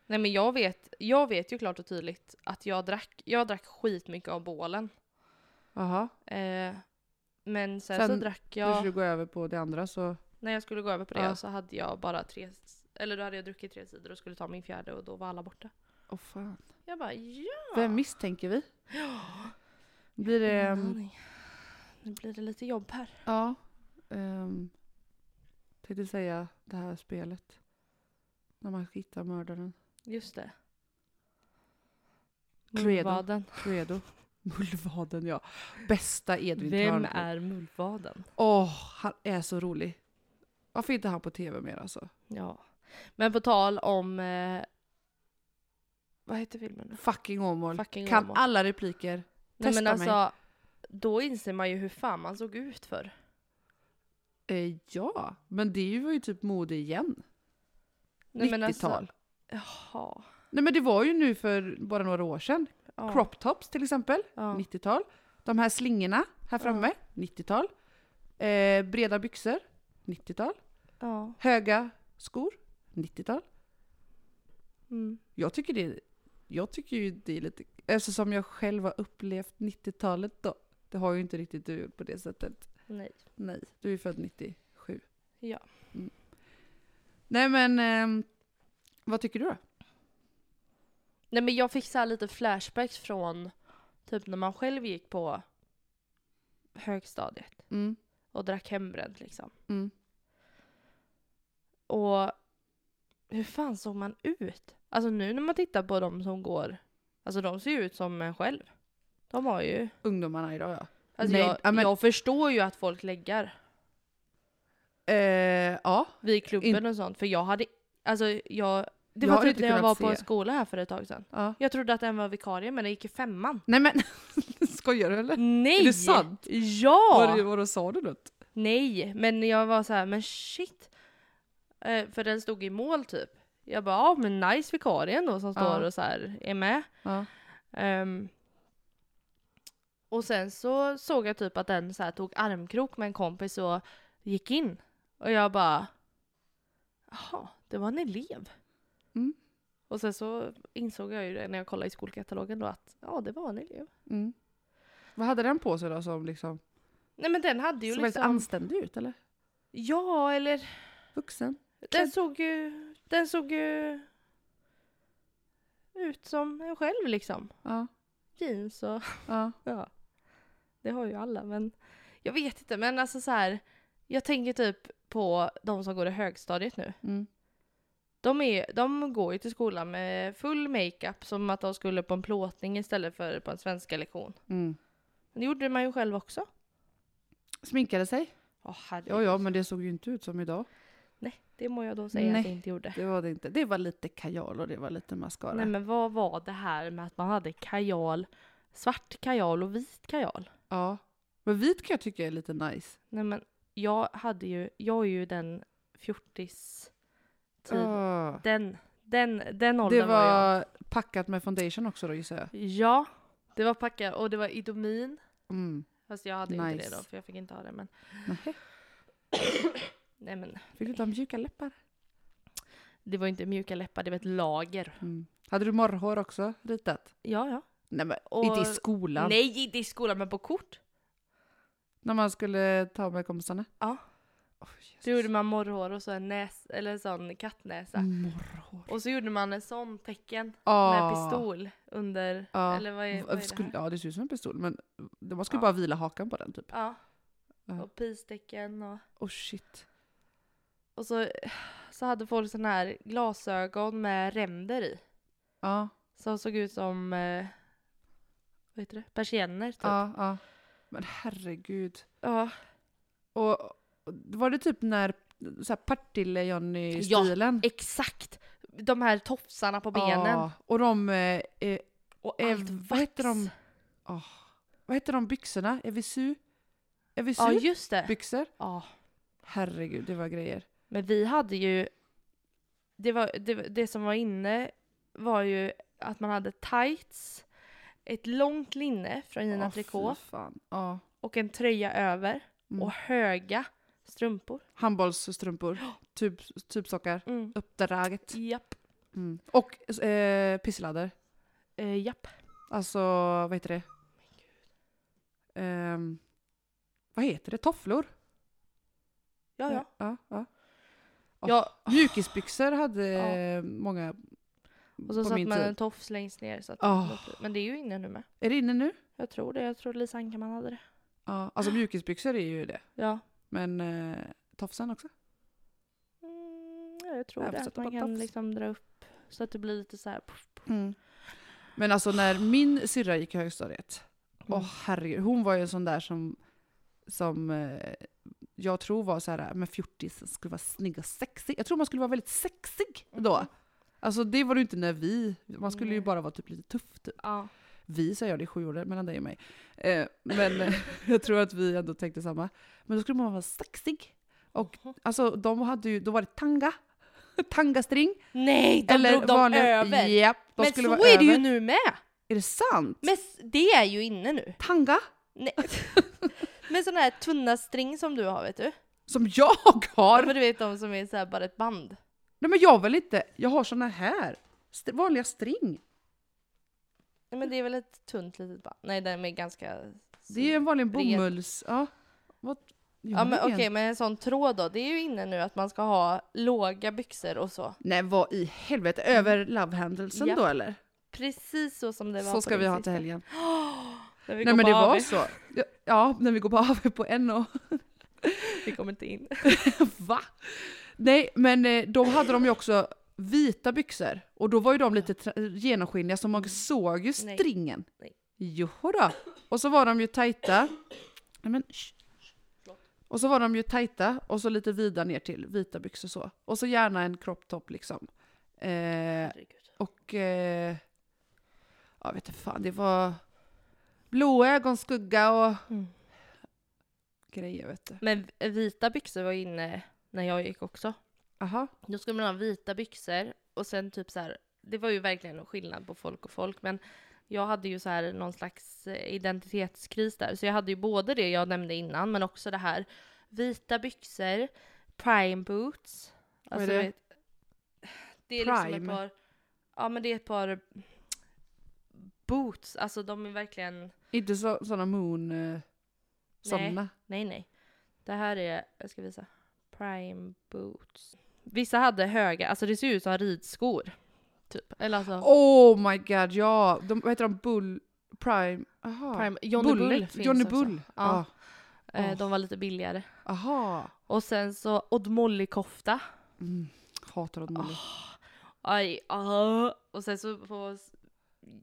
Speaker 1: Nej men jag vet, jag vet ju klart och tydligt att jag drack, jag drack skitmycket av bålen.
Speaker 2: aha.
Speaker 1: Eh, Men sen, så
Speaker 2: Sen
Speaker 1: drack
Speaker 2: Du
Speaker 1: jag,
Speaker 2: skulle gå över på det andra så...
Speaker 1: när jag skulle gå över på det
Speaker 2: Ja.
Speaker 1: så hade jag bara tre, eller då hade jag druckit tre sidor och skulle ta min fjärde och då var alla borta.
Speaker 2: Åh fan.
Speaker 1: Jag bara ja.
Speaker 2: Vem misstänker vi? Blir det...
Speaker 1: ingen
Speaker 2: ehm,
Speaker 1: aning. Nu blir det lite jobb här.
Speaker 2: Ja. Um, tänkte säga det här spelet. När man ska hitta mördaren.
Speaker 1: Just det.
Speaker 2: Cluedo.
Speaker 1: Mullvaden.
Speaker 2: Cluedo. Mullvaden ja. Bästa Edvin
Speaker 1: Vem
Speaker 2: Törnblom.
Speaker 1: är mullvaden?
Speaker 2: Åh, han är så rolig. Varför är inte han på tv mer alltså?
Speaker 1: Ja. Men på tal om... Eh, vad heter filmen nu?
Speaker 2: Fucking Åmål.
Speaker 1: Fucking
Speaker 2: Kan
Speaker 1: Åmål.
Speaker 2: alla repliker.
Speaker 1: Nej men
Speaker 2: testa mig.
Speaker 1: alltså, då inser man ju hur fan man såg ut för.
Speaker 2: Eh, ja, men det var ju typ mode igen.
Speaker 1: Nej, men alltså-
Speaker 2: 90-tal.
Speaker 1: Jaha.
Speaker 2: Nej men det var ju nu för bara några år sedan.
Speaker 1: Ja.
Speaker 2: Crop tops till exempel.
Speaker 1: Ja.
Speaker 2: 90-tal. De här slingorna här framme, 90-tal. Eh, breda byxor, 90-tal.
Speaker 1: ja.
Speaker 2: Höga skor, 90-tal.
Speaker 1: Mm.
Speaker 2: Jag tycker det, jag tycker ju det är lite... Eftersom jag själv har upplevt 90-talet då. Det har ju inte riktigt du gjort på det sättet.
Speaker 1: Nej.
Speaker 2: Nej, du är ju född 97.
Speaker 1: Ja.
Speaker 2: Mm. Nej men, ehm, vad tycker du då?
Speaker 1: Nej men jag fick så här lite flashbacks från typ när man själv gick på högstadiet
Speaker 2: Mm,
Speaker 1: och drack hembränt liksom.
Speaker 2: mm.
Speaker 1: Och hur fan såg man ut? Alltså nu när man tittar på de som går, alltså de ser ju ut som en själv. De har ju,
Speaker 2: Ungdomarna idag ja.
Speaker 1: alltså
Speaker 2: Nej,
Speaker 1: jag,
Speaker 2: ja, men-
Speaker 1: jag förstår ju att folk lägger
Speaker 2: Eh, ja,
Speaker 1: vid klubben
Speaker 2: In-
Speaker 1: och sånt för jag hade, alltså jag, det var
Speaker 2: Jag hade
Speaker 1: typ
Speaker 2: inte
Speaker 1: när jag
Speaker 2: kunnat
Speaker 1: var på en
Speaker 2: se.
Speaker 1: skola här för ett tag sedan.
Speaker 2: ja.
Speaker 1: Jag trodde att den var vikarie men den gick i femman.
Speaker 2: Nej men, skojar du eller?
Speaker 1: Nej!
Speaker 2: Är det sant?
Speaker 1: Ja!
Speaker 2: Var, var, sa du något?
Speaker 1: Nej, men jag var så här, men shit. Eh, för den stod i mål typ. Jag bara, ja men nice vikarien då som
Speaker 2: Ja.
Speaker 1: står och så här är med.
Speaker 2: Ja.
Speaker 1: Ehm, och sen så såg jag typ att den så här tog armkrok med en kompis och gick in. Och jag bara, jaha, det var en elev.
Speaker 2: Mm.
Speaker 1: Och sen så insåg jag ju det när jag kollade i skolkatalogen då att ja, det var en elev.
Speaker 2: Mm. Vad hade den på sig då som liksom...
Speaker 1: Nej men den hade ju
Speaker 2: Såg väldigt
Speaker 1: liksom,
Speaker 2: anständig ut eller?
Speaker 1: ja eller
Speaker 2: Vuxen?
Speaker 1: Den
Speaker 2: Klädd.
Speaker 1: såg ju... Den såg ju... Ut som en själv liksom.
Speaker 2: Ja.
Speaker 1: Jeans och...
Speaker 2: ja.
Speaker 1: Ja. Det har ju alla men... Jag vet inte men alltså så här. Jag tänker typ på de som går i högstadiet nu.
Speaker 2: Mm.
Speaker 1: De, är, de går ju till skolan med full makeup som att de skulle på en plåtning istället för på en svenska lektion.
Speaker 2: Mm.
Speaker 1: Men Det gjorde man ju själv också.
Speaker 2: Sminkade sig?
Speaker 1: Åh herregud.
Speaker 2: Ja, ja, men det såg ju inte ut som idag.
Speaker 1: Det må jag då säga
Speaker 2: Nej.
Speaker 1: att jag inte gjorde.
Speaker 2: Det var det inte. Det var lite kajal och det var lite mascara.
Speaker 1: Nej men vad var det här med att man hade kajal, svart kajal och vit kajal?
Speaker 2: Ja. Men vit kan jag tycka är lite nice.
Speaker 1: Nej men jag hade ju, jag är ju den fjortis
Speaker 2: Ah.
Speaker 1: den, den, den åldern
Speaker 2: Det
Speaker 1: jag.
Speaker 2: var packat med foundation också då gissar jag.
Speaker 1: Ja, det var packat och det var Idomin.
Speaker 2: Mm.
Speaker 1: Fast jag hade ju inte det
Speaker 2: Nice.
Speaker 1: då för jag fick inte ha det men.
Speaker 2: Nähä.
Speaker 1: Nej men
Speaker 2: Fick du ta mjuka läppar?
Speaker 1: det var ju inte mjuka läppar, det var ett lager.
Speaker 2: Mm. Hade du morrhår också ritat?
Speaker 1: Ja ja.
Speaker 2: Nej men
Speaker 1: Och-
Speaker 2: inte i skolan.
Speaker 1: Nej inte i skolan men på kort.
Speaker 2: När man skulle ta med kompisarna.
Speaker 1: Ja.
Speaker 2: Oh, Jesus.
Speaker 1: Då gjorde man morrhår och så en näs, eller en sån kattnäsa.
Speaker 2: Mm. Morrhår.
Speaker 1: Och så gjorde man en sån tecken.
Speaker 2: Ah.
Speaker 1: Med pistol under,
Speaker 2: Ja.
Speaker 1: eller vad är,
Speaker 2: V-
Speaker 1: vad är det
Speaker 2: skulle,
Speaker 1: här?
Speaker 2: ja, det ser ut som en pistol. Men det- man skulle
Speaker 1: Ja.
Speaker 2: bara vila hakan på den typ.
Speaker 1: Ja.
Speaker 2: Ja.
Speaker 1: Och pistecken och...
Speaker 2: Oh shit.
Speaker 1: Och så, så hade folk såna här glasögon med ränder i.
Speaker 2: Ja,
Speaker 1: Som såg ut som, eh, vad heter det, persienner typ. Ja.
Speaker 2: ja, ja. Men herregud. Och, och var det typ när så här Partille-Johnny-stilen?
Speaker 1: Exakt! De här tofsarna på benen.
Speaker 2: Ja, och de... Eh, eh,
Speaker 1: Och
Speaker 2: eh,
Speaker 1: allt vax.
Speaker 2: vad heter de? åh, vad heter de byxorna? Evisu? Evisu?
Speaker 1: Ja just det.
Speaker 2: Byxor?
Speaker 1: Ja.
Speaker 2: Herregud, det var grejer.
Speaker 1: Men vi hade ju, det, var, det, det som var inne var ju att man hade tights, ett långt linne från Gina
Speaker 2: Åh, fy
Speaker 1: Tricot
Speaker 2: fan. Ja.
Speaker 1: och en tröja över
Speaker 2: Mm.
Speaker 1: och höga strumpor.
Speaker 2: Handbollsstrumpor, tub, tubsockar,
Speaker 1: Mm.
Speaker 2: uppdraget.
Speaker 1: Japp.
Speaker 2: Mm. Och eh, pissladder.
Speaker 1: Eh, japp.
Speaker 2: Alltså, vad heter det? Ehm, Vad heter det? Tofflor?
Speaker 1: Ja, ja.
Speaker 2: ja, ja. Ja.
Speaker 1: ja.
Speaker 2: Mjukisbyxor hade
Speaker 1: Ja.
Speaker 2: eh, många
Speaker 1: Och så
Speaker 2: på
Speaker 1: satt
Speaker 2: min
Speaker 1: man
Speaker 2: tid.
Speaker 1: en tofs längst ner. Så att
Speaker 2: Ah.
Speaker 1: Men det är ju inne nu med.
Speaker 2: Är det inne nu?
Speaker 1: Jag tror det. Jag tror Lisa Ankarman hade det.
Speaker 2: Ja, alltså mjukisbyxor är ju det.
Speaker 1: Ja.
Speaker 2: Men eh, tofsen också?
Speaker 1: Mm, ja, jag tror
Speaker 2: Jag
Speaker 1: det.
Speaker 2: satt
Speaker 1: Att
Speaker 2: på
Speaker 1: man
Speaker 2: en
Speaker 1: kan
Speaker 2: tofs.
Speaker 1: liksom dra upp så att det blir lite så här. Puff, puff.
Speaker 2: Men alltså när min syrra gick i högstadiet, åh
Speaker 1: Mm.
Speaker 2: herregud, hon var ju en sån där som, som eh, jag tror var så här, eh, men fjortis skulle vara snygg och sexig. Jag tror man skulle vara väldigt sexig då.
Speaker 1: Mhm.
Speaker 2: Alltså det var det ju inte när vi, man skulle ju
Speaker 1: Nej.
Speaker 2: bara vara typ lite tuff typ.
Speaker 1: Ja.
Speaker 2: Vi säger jag, det är sju år mellan dig och mig. Eh, men eh, jag tror att vi ändå tänkte samma. Men då skulle man vara sexig. Och alltså de hade ju, då var det tanga. Tangastring.
Speaker 1: Nej, de drog dem över.
Speaker 2: Japp, de
Speaker 1: men
Speaker 2: skulle
Speaker 1: så
Speaker 2: vara
Speaker 1: är det
Speaker 2: över.
Speaker 1: ju nu med.
Speaker 2: Är det sant?
Speaker 1: Men s- det är ju inne nu.
Speaker 2: Tanga?
Speaker 1: Nej. men sån här tunna string som du har vet du.
Speaker 2: Som jag har?
Speaker 1: Men du vet de som är så här bara ett band.
Speaker 2: Nej men jag vill inte, jag har såna här. St- vanliga string.
Speaker 1: Nej, men det är väl ett tunt litet band. Nej, den är ganska...
Speaker 2: Det är en vanlig
Speaker 1: Ren.
Speaker 2: bomulls... Ja. Vad?
Speaker 1: Ja men
Speaker 2: ren.
Speaker 1: okej, men en sån tråd då, det är ju inne nu att man ska ha låga byxor och så.
Speaker 2: Nej vad i helvete, över love handelsen
Speaker 1: Japp.
Speaker 2: då eller?
Speaker 1: Precis så som det var
Speaker 2: Så
Speaker 1: på
Speaker 2: ska
Speaker 1: din
Speaker 2: vi ha till
Speaker 1: sista.
Speaker 2: helgen.
Speaker 1: När vi
Speaker 2: Nej
Speaker 1: går
Speaker 2: men
Speaker 1: på
Speaker 2: det var
Speaker 1: AV.
Speaker 2: så. Ja, Ja, när vi går på AV på en och
Speaker 1: Vi kommer inte in.
Speaker 2: Va? Nej, men eh, då hade de ju också vita byxor. Och då var ju de lite tra- genomskinliga så man såg ju
Speaker 1: Nej.
Speaker 2: stringen.
Speaker 1: Nej.
Speaker 2: Jodå. Och så var de ju tajta. Nej, men, sh- och så var de ju tajta och så lite vida ner till vita byxor så. Och så gärna en crop top liksom. Eh,
Speaker 1: Herregud.
Speaker 2: och... Eh, jag vet inte fan, det var blå ögonskugga och
Speaker 1: Mm.
Speaker 2: grejer vet du.
Speaker 1: Men vita byxor var inne när jag gick också.
Speaker 2: Aha.
Speaker 1: Då skulle man ha vita byxor och sen typ så här, det var ju verkligen en skillnad på folk och folk men jag hade ju så här någon slags eh, identitetskris där så jag hade ju både det jag nämnde innan men också det här vita byxor, prime boots. alltså,
Speaker 2: Vad är det?
Speaker 1: vet- det är liksom ett
Speaker 2: Prime?
Speaker 1: par, ja men det är ett par boots, alltså de är verkligen,
Speaker 2: Inte så, såna moon... Eh, såna.
Speaker 1: nej nej. Det här är, jag ska visa, prime boots. Vissa hade höga, alltså det ser ut som ridskor. Typ. Eller alltså,
Speaker 2: Oh my god, ja! De, vad heter de? Bull... Prime... Aha.
Speaker 1: prime. Johnny Bull
Speaker 2: Bullet.
Speaker 1: finns
Speaker 2: Johnny
Speaker 1: också.
Speaker 2: Bull.
Speaker 1: Ja.
Speaker 2: Ah.
Speaker 1: Eh, De var lite billigare.
Speaker 2: Ah, aha.
Speaker 1: Och sen så Odd Molly-kofta.
Speaker 2: Mm. Hatar Odd Molly.
Speaker 1: Aj, ah. Och sen så på,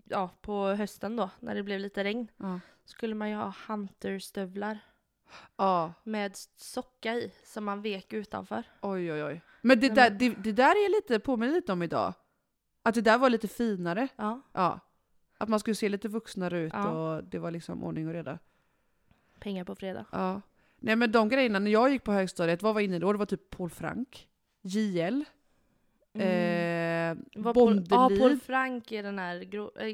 Speaker 1: ja, på hösten då, när det blev lite regn,
Speaker 2: Ja.
Speaker 1: skulle man ju ha hunterstövlar
Speaker 2: Ja,
Speaker 1: med socka i som man vek utanför.
Speaker 2: oj oj oj. Men det
Speaker 1: Nej,
Speaker 2: där,
Speaker 1: men-
Speaker 2: det, det där är lite, påminner lite om idag. Att det där var lite finare.
Speaker 1: Ja.
Speaker 2: Ja. Att man skulle se lite vuxnare ut
Speaker 1: Ja.
Speaker 2: och det var liksom ordning och reda.
Speaker 1: Pengar på fredag.
Speaker 2: Ja. Nej men de grejerna, när jag gick på högstadiet, vad var inne då? Det var typ Paul Frank, JL, Mm. eh,
Speaker 1: Mm. Var Paul,
Speaker 2: Bondelid,
Speaker 1: ja, Paul Frank är den här gro, äh,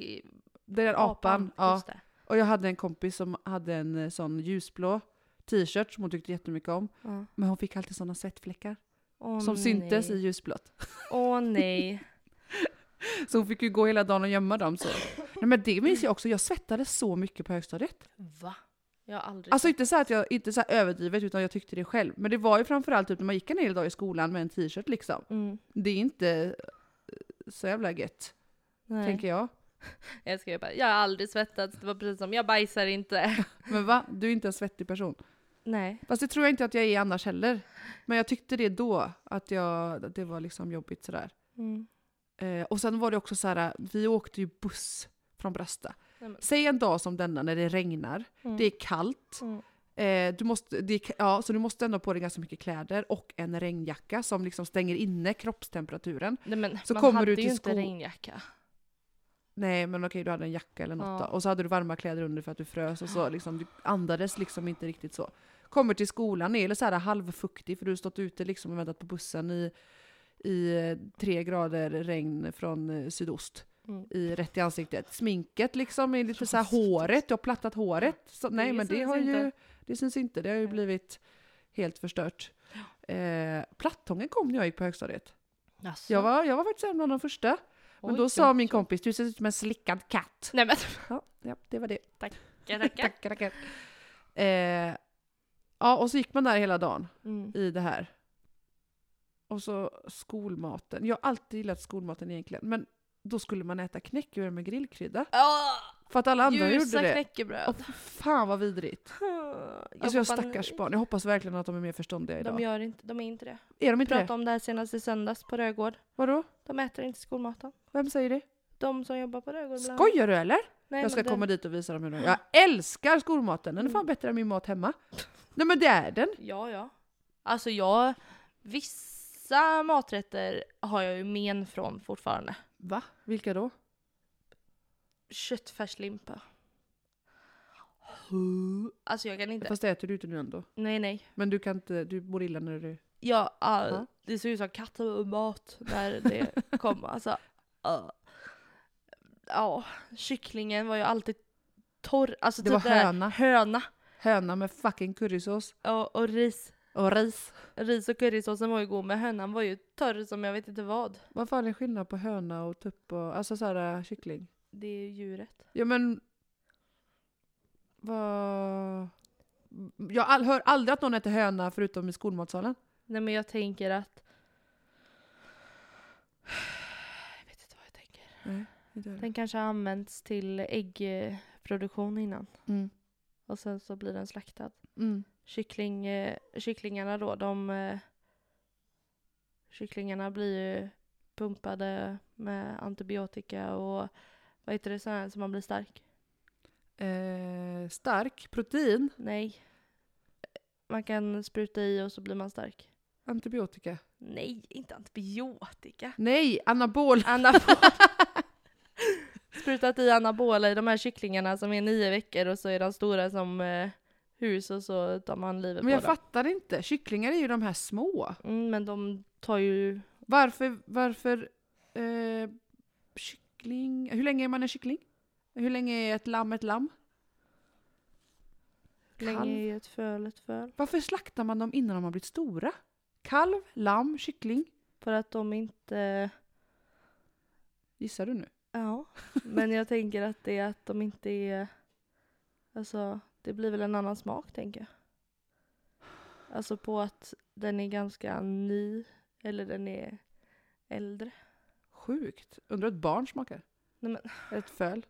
Speaker 2: den där apan. Ja.
Speaker 1: Just det.
Speaker 2: Och jag hade en kompis som hade en eh, sån ljusblå t-shirt som hon tyckte jättemycket om.
Speaker 1: Ja.
Speaker 2: Men hon fick alltid såna svettfläckar
Speaker 1: Åh,
Speaker 2: som syntes i
Speaker 1: nej.
Speaker 2: ljusblått.
Speaker 1: Åh nej.
Speaker 2: Så hon fick ju gå hela dagen och gömma dem så. Nej men det minns jag också, jag svettades så mycket på högstadiet.
Speaker 1: Va? Jag har aldrig...
Speaker 2: Alltså inte så här att jag, inte så här överdrivet utan jag tyckte det själv. Men det var ju framförallt typ när man gick en hel dag i skolan med en t-shirt liksom.
Speaker 1: mm,
Speaker 2: Det är inte eh, så jävla gött,
Speaker 1: nej.
Speaker 2: tänker jag.
Speaker 1: Jag skrev bara, jag har aldrig svettats, det var precis som, jag bajsar inte.
Speaker 2: Men va? Du är inte en svettig person.
Speaker 1: Nej.
Speaker 2: Fast det tror jag inte att jag är annars heller. Men jag tyckte det då, att, jag, att det var liksom jobbigt sådär.
Speaker 1: Mm.
Speaker 2: Eh, och sen var det också så här, vi åkte ju buss från Brasta.
Speaker 1: Nej, men-
Speaker 2: Säg en dag som denna när det regnar,
Speaker 1: Mm.
Speaker 2: det är kallt,
Speaker 1: Mm.
Speaker 2: eh, du måste, det är, ka- ja, så du måste ändå ha på dig ganska mycket kläder och en regnjacka som liksom stänger inne kroppstemperaturen.
Speaker 1: Nej men
Speaker 2: Så
Speaker 1: man
Speaker 2: kommer
Speaker 1: hade
Speaker 2: du till
Speaker 1: ju inte
Speaker 2: sko-
Speaker 1: regnjacka.
Speaker 2: Nej men okej, du hade en jacka eller något
Speaker 1: Ja. Ah.
Speaker 2: då. Och så hade du varma kläder under för att du frös och så liksom, du andades liksom inte riktigt så. Kommer till skolan, är så här halvfuktig för du har stått ute liksom och väntat på bussen i, i eh, tre grader regn från eh, sydost.
Speaker 1: Mm.
Speaker 2: i, rätt i ansiktet. Sminket liksom är lite så här
Speaker 1: Frostigt.
Speaker 2: håret, du har plattat håret. Så, nej men det
Speaker 1: syns
Speaker 2: har ju,
Speaker 1: inte.
Speaker 2: det syns inte, det har ju
Speaker 1: Nej.
Speaker 2: blivit helt förstört. Eh, plattången kom när jag gick på högstadiet.
Speaker 1: Alltså.
Speaker 2: Jag var, jag var faktiskt en av de första. Men då sa min kompis, du ser ut som en slickad katt.
Speaker 1: Nej men
Speaker 2: Ja, ja det var det.
Speaker 1: tackar tackar.
Speaker 2: Tackar, tackar. Eh, Ja, och så gick man där hela dagen
Speaker 1: Mm.
Speaker 2: i det här. Och så skolmaten. Jag har alltid gillat skolmaten egentligen. Men då skulle man äta knäckebröd med grillkrydda. För att alla andra
Speaker 1: Ljusa
Speaker 2: gjorde det.
Speaker 1: knäckebröd.
Speaker 2: Och fan vad vidrigt. Alltså jag
Speaker 1: hoppar-
Speaker 2: stackars barn. Jag hoppas verkligen att de är mer förståndiga idag.
Speaker 1: De gör inte, de är inte det.
Speaker 2: är de
Speaker 1: Vi
Speaker 2: inte
Speaker 1: pratade
Speaker 2: det?
Speaker 1: om det här senast i söndags på Rödgård.
Speaker 2: Vadå?
Speaker 1: De äter inte skolmaten.
Speaker 2: Vem säger det?
Speaker 1: De som jobbar på Rödgård bland annat.
Speaker 2: Skojar du eller?
Speaker 1: Nej,
Speaker 2: jag ska
Speaker 1: men det-
Speaker 2: komma dit och visa dem hur de gör. Jag älskar skolmaten. Den är fan bättre än min mat hemma. Nej men det är den.
Speaker 1: Ja, ja. Alltså jag... Vissa maträtter har jag ju men från fortfarande.
Speaker 2: Va? Vilka då?
Speaker 1: Köttfärslimpa. Alltså jag kan inte.
Speaker 2: Fast det äter du inte nu ändå.
Speaker 1: Nej, nej.
Speaker 2: Men du kan inte, du mår illa när du...
Speaker 1: Jag, ah,
Speaker 2: Ja.
Speaker 1: Det ser ut som kattmat när det kom. Alltså, ah. Ja, kycklingen var ju alltid torr. Alltså
Speaker 2: Det
Speaker 1: typ
Speaker 2: var
Speaker 1: där-
Speaker 2: höna.
Speaker 1: Höna.
Speaker 2: Höna med fucking currysås.
Speaker 1: Och, och ris.
Speaker 2: Och ris.
Speaker 1: Ris och currysåsen var ju god men hönan var ju torr som jag vet inte vad.
Speaker 2: Vad fan är skillnaden på höna och tupp och... Alltså så här äh, kyckling?
Speaker 1: Det är ju djuret.
Speaker 2: Ja men... Vad... Jag all, hör aldrig att någon äter höna förutom i skolmatsalen.
Speaker 1: Nej men jag tänker att... Jag vet inte vad jag tänker. Den kanske har använts till äggproduktion innan.
Speaker 2: Mm.
Speaker 1: Och sen så blir den slaktad.
Speaker 2: Mm.
Speaker 1: Kyckling, eh, kycklingarna då, de... Eh, kycklingarna blir ju pumpade med antibiotika och vad heter det sån här som man blir stark?
Speaker 2: Eh, stark, protein,
Speaker 1: Nej. Man kan spruta i och så blir man stark.
Speaker 2: antibiotika.
Speaker 1: Nej, inte antibiotika.
Speaker 2: Nej, anabol.
Speaker 1: Anabol. Sprutat i anabola i de här kycklingarna som är nio veckor och så är de stora som eh, hus och så tar man livet
Speaker 2: Men
Speaker 1: på
Speaker 2: jag
Speaker 1: dem.
Speaker 2: fattar inte. Kycklingar är ju de här små.
Speaker 1: Mm, men de tar ju...
Speaker 2: Varför, varför eh, kyckling? Hur länge är man en kyckling? Hur länge är ett lamm ett lamm?
Speaker 1: länge
Speaker 2: Kalv.
Speaker 1: i ett föl ett föl.
Speaker 2: Varför slaktar man dem innan de har blivit stora? Kalv, lamm, kyckling.
Speaker 1: För att de inte...
Speaker 2: Gissar du nu?
Speaker 1: Ja. Men jag tänker att det är att de inte är... Alltså, det blir väl en annan smak tänker jag. Alltså på att den är ganska ny. Eller den är äldre.
Speaker 2: Sjukt. Undrar hur ett barn smakar?
Speaker 1: Nej, men-
Speaker 2: Ett föl?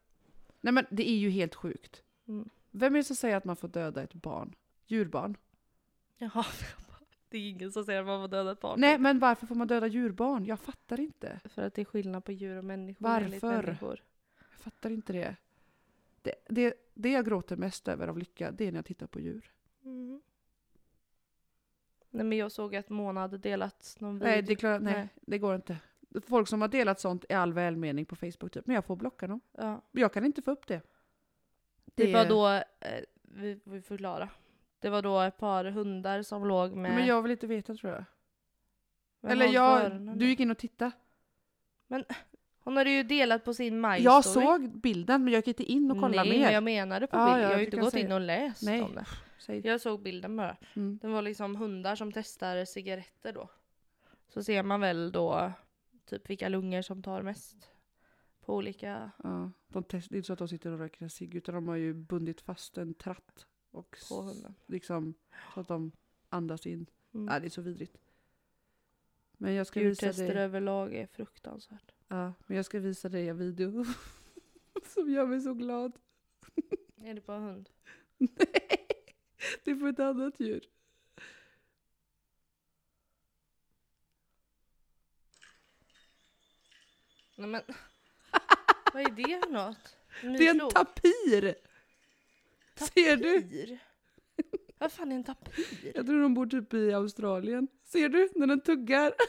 Speaker 2: Nej men det är ju helt sjukt.
Speaker 1: Mm.
Speaker 2: Vem är det som säger att man får döda ett barn? Djurbarn?
Speaker 1: Jaha. Det är ingen som säger att man får döda ett barn.
Speaker 2: Nej men varför får man döda djurbarn? Jag fattar inte.
Speaker 1: För att det är skillnad på djur och människor. enligt
Speaker 2: Varför?
Speaker 1: Människor.
Speaker 2: Jag fattar inte det. Det, det, det jag gråter mest över av lycka, det är när jag tittar på djur.
Speaker 1: Mm. Nej men jag såg att Mona hade delat någon video.
Speaker 2: Nej, det, klarar, nej,
Speaker 1: Mm. Nej.
Speaker 2: det går inte. Folk som har delat sånt i all välmening på Facebook typ, men jag får blocka dem.
Speaker 1: ja.
Speaker 2: Jag kan inte få upp det.
Speaker 1: det, var då, eh, vi, vi förklara. Det var då ett par hundar som låg med...
Speaker 2: Men jag vill inte veta tror jag.
Speaker 1: med
Speaker 2: Eller
Speaker 1: någon på
Speaker 2: jag,
Speaker 1: öronen.
Speaker 2: du gick in och tittade.
Speaker 1: Hon hade ju delat på sin MyStory.
Speaker 2: Jag såg bilden men jag gick inte in och kollade
Speaker 1: Nej,
Speaker 2: mer.
Speaker 1: men jag menade på
Speaker 2: Ja,
Speaker 1: bilden.
Speaker 2: ja,
Speaker 1: jag har
Speaker 2: du
Speaker 1: ju inte
Speaker 2: kan
Speaker 1: gått
Speaker 2: säga-
Speaker 1: in och läst
Speaker 2: Nej.
Speaker 1: om det.
Speaker 2: Säg.
Speaker 1: Jag såg bilden bara.
Speaker 2: Mm.
Speaker 1: Det var liksom hundar som testar cigaretter då. Så ser man väl då typ vilka lungor som tar mest. På olika...
Speaker 2: Ja, de test, det är inte så att de sitter och röker en cigg utan de har ju bundit fast en tratt. Och s-
Speaker 1: På hunden.
Speaker 2: liksom så att de andas in.
Speaker 1: Mm.
Speaker 2: Ja, det är så vidrigt. Men jag ska visa
Speaker 1: Djurtester
Speaker 2: dig,
Speaker 1: överlag är fruktansvärt.
Speaker 2: ja, men jag ska visa dig en video som gör mig så glad.
Speaker 1: Är det bara hund?
Speaker 2: Nej, det är på ett annat djur.
Speaker 1: Nej men. Vad är det för något?
Speaker 2: Det är en
Speaker 1: Myrslok?
Speaker 2: tapir! Ser du?
Speaker 1: Tapir? Vad fan är en tapir?
Speaker 2: Jag tror de bor typ i Australien. Ser du när den tuggar?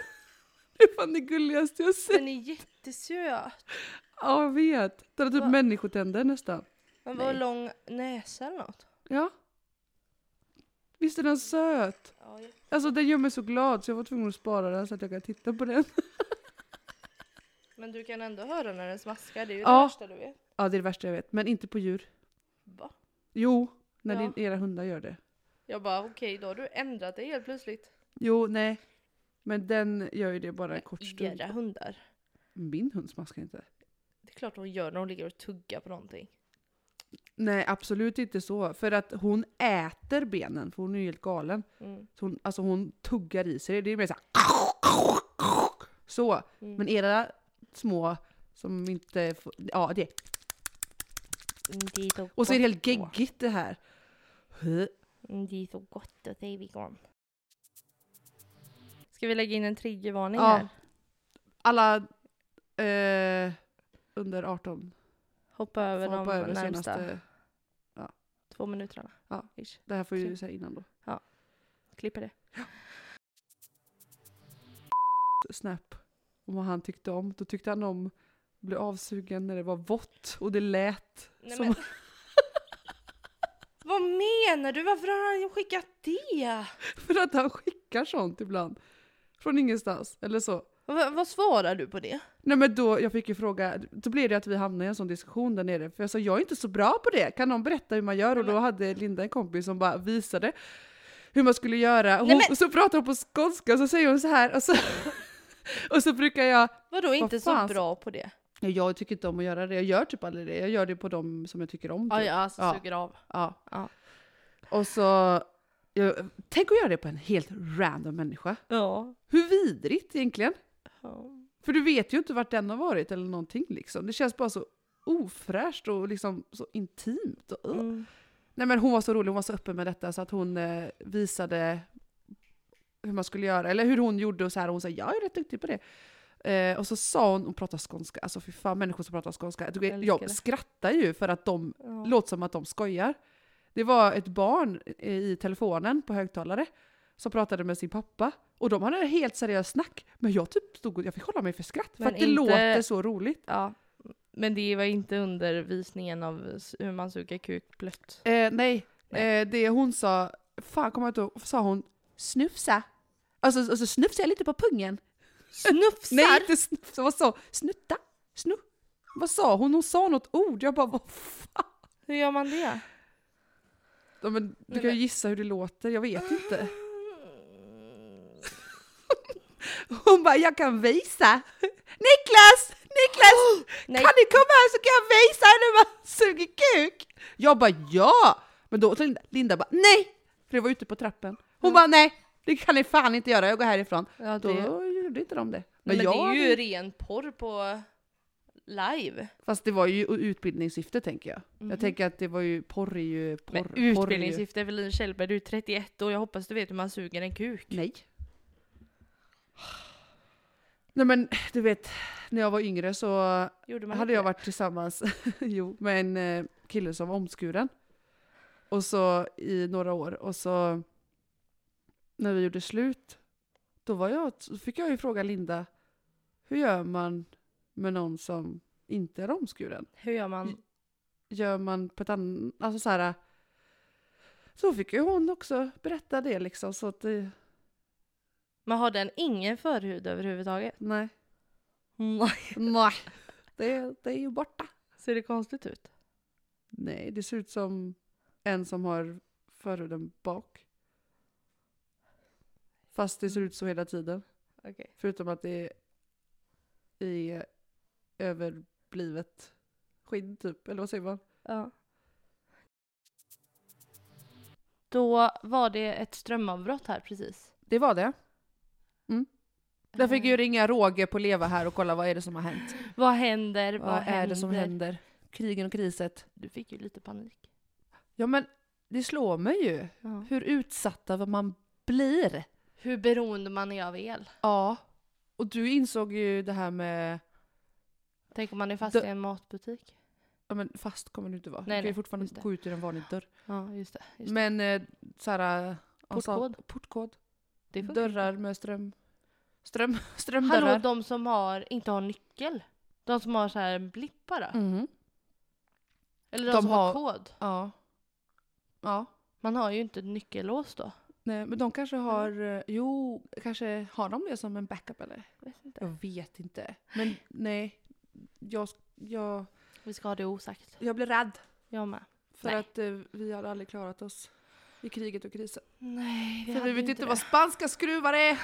Speaker 2: Det är fan det gulligaste jag sett.
Speaker 1: Den är jättesöt.
Speaker 2: Ja, jag vet. Den har typ
Speaker 1: Va?
Speaker 2: människotänder nästan.
Speaker 1: Den var
Speaker 2: Nej.
Speaker 1: lång näsa eller något.
Speaker 2: Ja. Visst är den söt?
Speaker 1: Ja, jätte-
Speaker 2: Alltså den gör mig så glad så jag var tvungen att spara den så att jag kan titta på den.
Speaker 1: Men du kan ändå höra när den smaskar. Det är ju
Speaker 2: Ja.
Speaker 1: det värsta du vet.
Speaker 2: Ja, det är det värsta jag vet. Men inte på djur.
Speaker 1: Va?
Speaker 2: Jo, när
Speaker 1: Ja.
Speaker 2: din, era hundar gör det.
Speaker 1: Jag bara okej, då har du ändrat dig helt plötsligt.
Speaker 2: Jo, nej. Men den gör ju det bara en kort stund.
Speaker 1: Era hundar.
Speaker 2: Min hund smaskar inte.
Speaker 1: Det är klart hon gör när hon ligger och tuggar på någonting.
Speaker 2: Nej, absolut inte så. För att hon äter benen, för hon är ju helt galen.
Speaker 1: Mm.
Speaker 2: Så hon, alltså hon tuggar i sig det. Det är mer såhär... Så.
Speaker 1: Mm.
Speaker 2: Men era små som inte får, Ja, det.
Speaker 1: Det är
Speaker 2: Och så är det helt geggigt det här. Hö.
Speaker 1: Mm, Det är så gott och det är vegan. Ska vi lägga in en triggervarning
Speaker 2: Ja.
Speaker 1: här?
Speaker 2: Alla eh, under 18
Speaker 1: Hoppa över
Speaker 2: får
Speaker 1: de
Speaker 2: hoppa över
Speaker 1: närmsta
Speaker 2: senaste...
Speaker 1: två minuterna.
Speaker 2: Ja.
Speaker 1: Ish.
Speaker 2: Det här får ju säga innan då.
Speaker 1: Klipper det.
Speaker 2: Snap. Om vad han tyckte om. Då tyckte han om att bli avsugen när det var vått och det lät
Speaker 1: Nej,
Speaker 2: som...
Speaker 1: men- Vad menar du? Varför har han skickat det?
Speaker 2: För att han skickar sånt ibland. Från ingenstans. Eller så.
Speaker 1: Va, vad svarar du på det?
Speaker 2: Nej men då, jag fick ju fråga, då blev det att vi hamnade i en sån diskussion där nere. För jag sa, jag är inte så bra på det, kan någon berätta hur man gör? Och då hade Linda en kompis som bara visade hur man skulle göra. Hon,
Speaker 1: Nej, men-
Speaker 2: och Så pratar hon på skånska och så säger hon så här. Och så, och så brukar jag,
Speaker 1: Vadå inte så
Speaker 2: fan?
Speaker 1: bra på det?
Speaker 2: "Ja, jag tycker inte om att göra det, jag gör typ aldrig det. Jag gör det på dem som jag tycker om. Typ.
Speaker 1: Ja, ja, alltså
Speaker 2: Ja.
Speaker 1: suger av.
Speaker 2: Ja.
Speaker 1: Ja.
Speaker 2: Och så, jag, tänk att göra det på en helt random människa.
Speaker 1: Ja.
Speaker 2: Hur vidrigt egentligen?
Speaker 1: ja.
Speaker 2: För du vet ju inte vart den har varit eller någonting liksom. Det känns bara så ofräscht och liksom så intimt. Och, ugh.
Speaker 1: Mm.
Speaker 2: Nej men hon var så rolig, hon var så öppen med detta så att hon eh, visade hur man skulle göra, eller hur hon gjorde och så här. Hon sa jag är rätt duktig på det. Eh, och så sa hon, hon pratar skånska, alltså fy fan människor som pratar skånska. Jag,
Speaker 1: Älskar det.
Speaker 2: jag skrattar ju för att de
Speaker 1: Ja.
Speaker 2: låter som att de skojar. Det var ett barn i telefonen på högtalare som pratade med sin pappa. Och de hade en helt seriös snack. Men jag typ stod och jag fick hålla mig för skratt.
Speaker 1: Men
Speaker 2: för att det
Speaker 1: inte-
Speaker 2: låter så roligt.
Speaker 1: ja. Men det var inte undervisningen av s- hur man suger kuk blött.
Speaker 2: Eh, nej,
Speaker 1: Nej.
Speaker 2: Eh, det hon sa, fan kommer jag inte ihåg, sa hon snufsa? Alltså, alltså snufsar jag lite på pungen?
Speaker 1: Snufsar!
Speaker 2: Nej inte snufsa, vad sa hon? Snutta? Snu? Vad sa hon? Hon sa något ord, jag bara vad fan?
Speaker 1: Hur gör man det?
Speaker 2: Ja, men, du
Speaker 1: Nej,
Speaker 2: kan ju
Speaker 1: men-
Speaker 2: gissa hur det låter, jag vet inte.
Speaker 1: Mm,
Speaker 2: Hon bara, jag kan visa. Niklas! Niklas!
Speaker 1: Nej.
Speaker 2: Kan du komma här så kan jag visa dig hur man suger kuk? Jag bara, ja! Men då Linda, Linda bara, nej! För det var ute på trappen. Hon bara, nej! Det kan ni fan inte göra, jag går härifrån.
Speaker 1: Mm. Ja,
Speaker 2: Då
Speaker 1: det...
Speaker 2: gjorde inte de det.
Speaker 1: Men,
Speaker 2: jag,
Speaker 1: det är ju
Speaker 2: hade-
Speaker 1: ren porr på live.
Speaker 2: Fast det var ju utbildningssyfte tänker jag.
Speaker 1: Mhm.
Speaker 2: Jag tänker att det var ju, porr är ju porr.
Speaker 1: Men
Speaker 2: porr är ju-
Speaker 1: utbildningssyfte, Evelin Kjellberg, du är 31 år, jag hoppas du vet hur man suger en kuk.
Speaker 2: Nej. Nej men du vet, när jag var yngre så
Speaker 1: Gjorde man
Speaker 2: hade
Speaker 1: inte
Speaker 2: jag
Speaker 1: det?
Speaker 2: varit tillsammans jo, med en eh, kille som var omskuren. Och så i några år. Och så när vi gjorde slut, då, var jag, så fick jag ju fråga Linda, hur gör man med någon som inte är omskuren?
Speaker 1: Hur gör man?
Speaker 2: Gör man på ett annat, alltså så här. Så fick ju hon också berätta det liksom. Så att det,
Speaker 1: Men har den ingen förhud överhuvudtaget?
Speaker 2: nej,
Speaker 1: Nej.
Speaker 2: nej, det, det är ju borta.
Speaker 1: Ser det konstigt ut?
Speaker 2: Nej, det ser ut som en som har förhuden bak. Fast det ser ut så hela tiden.
Speaker 1: Okej.
Speaker 2: Förutom att det är överblivet skinn typ, eller vad säger man?
Speaker 1: Ja. Då var det ett strömavbrott här precis.
Speaker 2: Det var det. Jag fick ju ringa Roger på Leva här och kolla vad är det som har hänt.
Speaker 1: Eh, Vad händer? Vad,
Speaker 2: Vad, är
Speaker 1: händer?
Speaker 2: det som händer? Krigen och kriset.
Speaker 1: Du fick ju lite panik.
Speaker 2: Ja men det slår mig ju
Speaker 1: Ja.
Speaker 2: hur utsatta man blir.
Speaker 1: Hur beroende man är av el.
Speaker 2: Ja. Och du insåg ju det här med
Speaker 1: Tänk om man är fast
Speaker 2: Då-
Speaker 1: i en matbutik.
Speaker 2: Ja men fast kommer du inte vara.
Speaker 1: Nej,
Speaker 2: du kan
Speaker 1: nej,
Speaker 2: ju fortfarande
Speaker 1: just det.
Speaker 2: gå ut ur en vanlig dörr.
Speaker 1: Ja, just det. Just det.
Speaker 2: Men eh, såhär... eh, alltså,
Speaker 1: Portkod.
Speaker 2: portkod.
Speaker 1: det funkar.
Speaker 2: Dörrar med ström... Ström,
Speaker 1: Hallå,
Speaker 2: strömdörrar.
Speaker 1: de som har, inte har nyckel. De som har så här blippar då?
Speaker 2: Mhm.
Speaker 1: Eller de,
Speaker 2: De
Speaker 1: som har...
Speaker 2: har-
Speaker 1: kod.
Speaker 2: Ja. Ja.
Speaker 1: Man har ju inte nyckellås då.
Speaker 2: Nej, men de kanske har... eh, Jo, kanske har de det som en backup eller?
Speaker 1: Vet inte.
Speaker 2: Jag vet inte. Men nej. Jag, jag,
Speaker 1: Vi ska ha det osagt.
Speaker 2: jag blir rädd.
Speaker 1: Jag med.
Speaker 2: För
Speaker 1: Nej.
Speaker 2: att eh, vi hade aldrig klarat oss i kriget och krisen.
Speaker 1: Nej,
Speaker 2: För vi vet inte
Speaker 1: det.
Speaker 2: vad spanska skruvar är.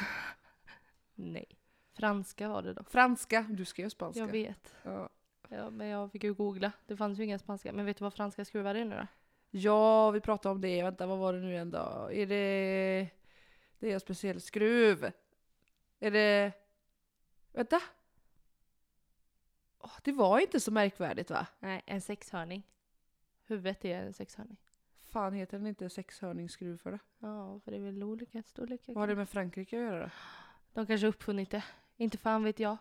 Speaker 1: Nej. Franska var det dock.
Speaker 2: Franska. Du skrev spanska.
Speaker 1: Jag vet.
Speaker 2: Ja.
Speaker 1: Ja, men jag fick ju googla. Det fanns ju inga spanska. Men vet du vad franska skruvar är nu då?
Speaker 2: Ja, vi pratade om det. Vänta, vad var det nu igen då? Är det... Det är en speciell skruv. Är det... Vänta. Åh, det var inte så märkvärdigt va?
Speaker 1: Nej, en sexhörning. Huvudet är en sexhörning.
Speaker 2: Fan heter den inte sexhörningsskruv för det?
Speaker 1: Ja, för det är väl olika storlekar.
Speaker 2: Vad har det med Frankrike att göra då?
Speaker 1: De kanske har uppfunnit det. Inte fan vet jag.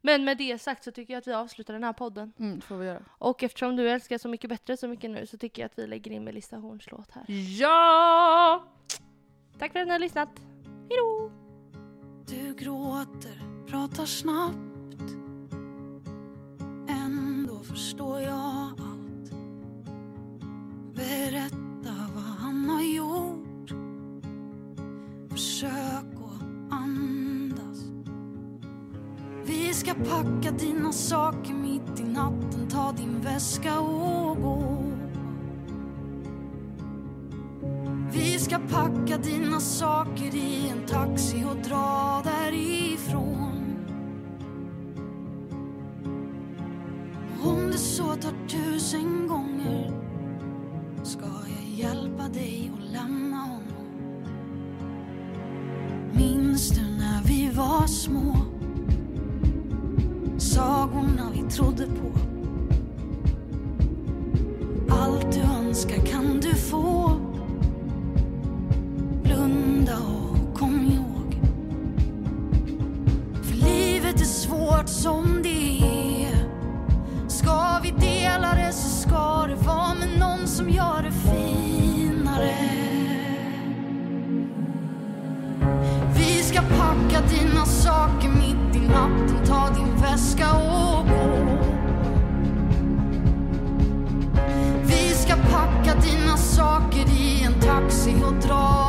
Speaker 1: Men med det sagt så tycker jag att vi avslutar den här podden.
Speaker 2: Mm, får vi göra.
Speaker 1: Och eftersom du älskar Så mycket bättre så mycket nu så tycker jag att vi lägger in Melissa Horns låt här.
Speaker 2: Ja!
Speaker 1: Tack för att ni har lyssnat. Hejdå!
Speaker 3: Du gråter, pratar snabbt Ändå förstår jag allt Berätta vad han har gjort Försök att andas Vi ska packa dina saker mitt i natten Ta din väska och gå Vi ska packa dina saker i en taxi och dra därifrån. Om det så tar tusen gånger ska jag hjälpa dig att lämna honom. Minns du när vi var små? Sagorna vi trodde på. Allt du önskar kan du få. Blunda och kom ihåg För livet är svårt som det är Ska vi dela det så ska det vara med någon som gör det finare Vi ska packa dina saker mitt i natten Ta din väska och gå vi ska packa dina saker i en taxi och dra